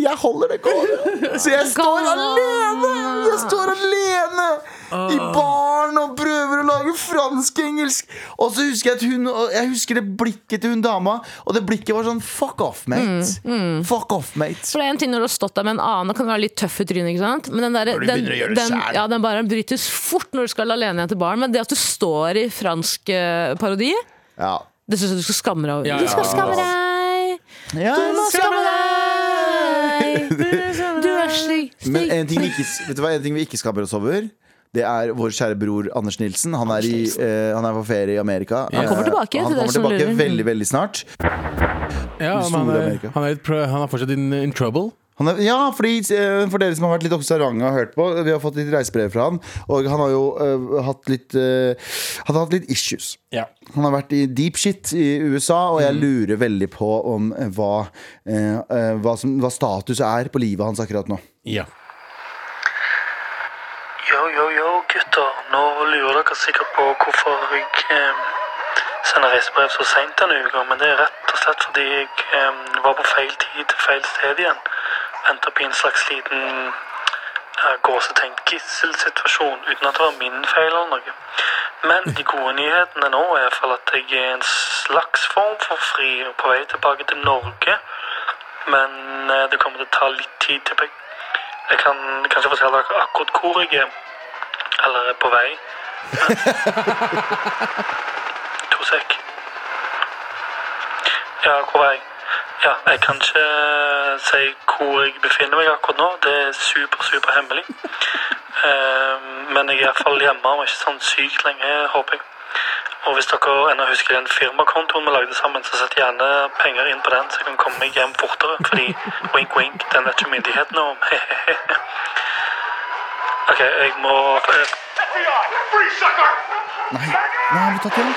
[SPEAKER 3] jeg holder det gående. Så jeg står alene! Jeg står alene i
[SPEAKER 2] Ah.
[SPEAKER 3] baren og prøver å lage fransk-engelsk. Og så husker jeg at hun og Jeg husker det blikket til hun dama, og det blikket var sånn Fuck off, mate.
[SPEAKER 2] Mm,
[SPEAKER 3] Fuck off, mate.
[SPEAKER 2] For det er en ting når du har stått der med en annen og kan være litt tøff i trynet, ikke sant? Men den, der,
[SPEAKER 3] du
[SPEAKER 2] den,
[SPEAKER 3] begynner å gjøre det
[SPEAKER 2] den,
[SPEAKER 3] selv.
[SPEAKER 2] ja, den bare brytes fort når du skal alene igjen til barn. Men det at du står i fransk eh, parodi,
[SPEAKER 3] Ja.
[SPEAKER 2] det syns jeg du skal skamme deg over.
[SPEAKER 4] Ja,
[SPEAKER 2] Du skal
[SPEAKER 4] ja.
[SPEAKER 2] skamme deg!
[SPEAKER 3] Ja,
[SPEAKER 2] Du må skamme deg! Du er slik,
[SPEAKER 3] Men
[SPEAKER 2] slik.
[SPEAKER 3] en ting vi ikke, vet du hva, en ting vi ikke skammer oss over, det er vår kjære bror Anders Nilsen. Han er, i, eh, han er på ferie i Amerika.
[SPEAKER 4] Han kommer
[SPEAKER 3] Eh,
[SPEAKER 2] tilbake til
[SPEAKER 3] han
[SPEAKER 2] dere
[SPEAKER 3] kommer
[SPEAKER 2] som
[SPEAKER 3] tilbake
[SPEAKER 2] lurer.
[SPEAKER 3] veldig, veldig snart. Den
[SPEAKER 4] Ja, men eh, han,
[SPEAKER 3] store
[SPEAKER 4] er,
[SPEAKER 3] Amerika.
[SPEAKER 4] han, er litt, prø- han er fortsatt in, in trouble.
[SPEAKER 3] Han er, ja, fordi, eh, For dere som har vært litt observante og hørt på, vi har fått litt reisebrev fra han. Og han har jo eh, hatt litt eh, Han har hatt litt issues. Han har vært i deep shit i USA, og jeg lurer veldig på om eh, hva, eh, eh, hva, som, hva status er på livet hans akkurat nå.
[SPEAKER 4] Ja.
[SPEAKER 9] Yo, yo, yo, gutter. Nå lurer dere sikkert på hvorfor jeg eh, sender reisebrev så seint denne uka. Men det er rett og slett fordi jeg eh, var på feil tid til feil sted igjen. Endte opp i en slags liten eh, gåsetenkt gisselsituasjon uten at det var min feil eller noe. Men de gode nyhetene nå er i hvert fall at jeg er i en slags form for fri og på vei tilbake til Norge. Men eh, det kommer til å ta litt tid til meg. Jeg kan kanskje fortelle dere akkurat hvor jeg er. Eller er på vei. Men- to sek. Ja, hvor er jeg? Ja, jeg kan ikke eh, si hvor jeg befinner meg akkurat nå. Det er super, super hemmelig. Eh, Men jeg er iallfall hjemme om ikke sånn sykt lenge, håper jeg. Og hvis dere ennå husker den firmakontoen vi lagde sammen, så sett gjerne penger inn på den, så jeg kan komme meg hjem fortere. Fordi wink, wink, den vet ikke myndighetene om. OK, jeg må eh,
[SPEAKER 3] Nei, har du tatt igjen?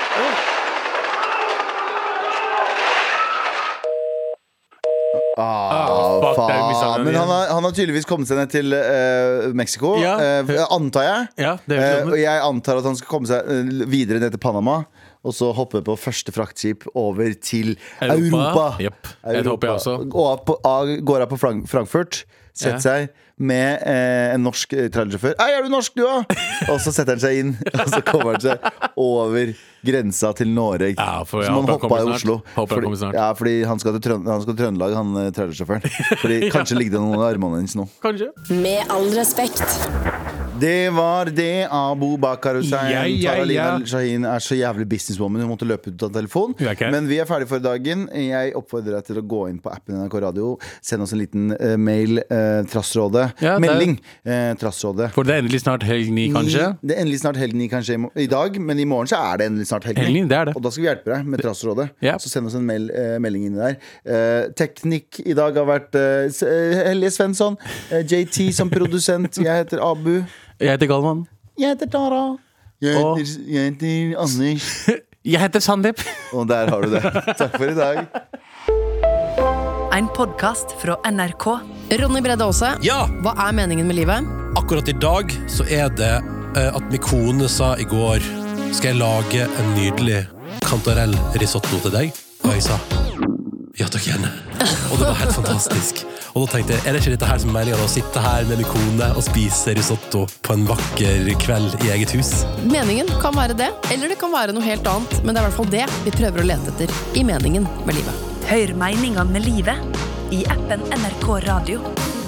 [SPEAKER 3] Ah,
[SPEAKER 4] fuck, der mistet han
[SPEAKER 3] faen.
[SPEAKER 4] den
[SPEAKER 3] Men
[SPEAKER 4] igjen.
[SPEAKER 3] han har, han har tydeligvis kommet seg ned til eh, Mexico,
[SPEAKER 4] Ja.
[SPEAKER 3] eh, antar jeg.
[SPEAKER 4] Ja, det er
[SPEAKER 3] Eh, og jeg antar at han skal komme seg eh, videre ned til Panama. Og så hoppe på første fraktskip over til Europa. Europa.
[SPEAKER 4] Europa. Jep. Det håper jeg også.
[SPEAKER 3] Gå av på, av, går av på Frank Frankfurt. Setter
[SPEAKER 4] Ja.
[SPEAKER 3] seg med eh, en norsk eh, trailersjåfør. 'Hei, er du norsk, du òg?' Og så setter han seg inn, og så kommer han seg over grensa til Norge.
[SPEAKER 4] Ja, for jeg
[SPEAKER 3] Som han
[SPEAKER 4] håper han
[SPEAKER 3] hoppa i
[SPEAKER 4] kommer snart.
[SPEAKER 3] Oslo.
[SPEAKER 4] Håper han kommer
[SPEAKER 3] Fordi,
[SPEAKER 4] snart.
[SPEAKER 3] ja, fordi han skal til Trøn- han skal til Trøndelag, han eh, trailersjåføren. Fordi Kanskje ligger det noen av armene hennes nå.
[SPEAKER 4] Kanskje.
[SPEAKER 1] Med all respekt.
[SPEAKER 3] Det var det Abu Bakar Hussein.
[SPEAKER 4] Ja, ja,
[SPEAKER 3] Tara Lina
[SPEAKER 4] ja.
[SPEAKER 3] Shahin er så jævlig businesswoman. Hun måtte løpe ut av telefonen.
[SPEAKER 4] Hun er ikke her.
[SPEAKER 3] Men vi er ferdige for i dagen. Jeg oppfordrer deg til å gå inn på appen NRK Radio. Send oss en liten eh, mail. eh, trassrådet.
[SPEAKER 4] Ja, det er-
[SPEAKER 3] Melding. eh, trassrådet.
[SPEAKER 4] For det er endelig snart helg ni, kanskje.
[SPEAKER 3] Ni- Det er endelig snart helg ni kan skje i mo- i dag, men i morgen så er det endelig snart helg ni.
[SPEAKER 4] Helg ni, det er det.
[SPEAKER 3] Og da skal vi hjelpe deg med Trassrådet.
[SPEAKER 4] Ja.
[SPEAKER 3] Så send oss en mel eh, melding inni der. Eh, teknikk i dag har vært eh, S- eh, Helge Svensson. eh, JT som produsent. Jeg heter Abu.
[SPEAKER 4] Jeg heter Galvan.
[SPEAKER 3] Jeg heter Tara. Jeg
[SPEAKER 4] Og-
[SPEAKER 3] heter, jeg heter Anders.
[SPEAKER 4] Jeg heter Sandeep.
[SPEAKER 3] Og der har du det. Takk for i dag.
[SPEAKER 10] En podkast fra NRK.
[SPEAKER 1] Ronny Bredde Aase,
[SPEAKER 7] Ja,
[SPEAKER 1] hva er meningen med livet?
[SPEAKER 7] akkurat i dag så er det eh, at min kone sa i går Skal jeg lage en nydelig kantarell risotto til deg? Og jeg sa ja takk gjerne. Og det var helt fantastisk. Og da tenkte jeg, er det ikke dette her som er meningen? Å sitte her med min kone og spise risotto på en vakker kveld i eget hus?
[SPEAKER 1] Meningen kan være det, eller det kan være noe helt annet, men det er i hvert fall det vi prøver å lete etter i meningen med livet.
[SPEAKER 10] Hør meningene med livet i appen NRK Radio.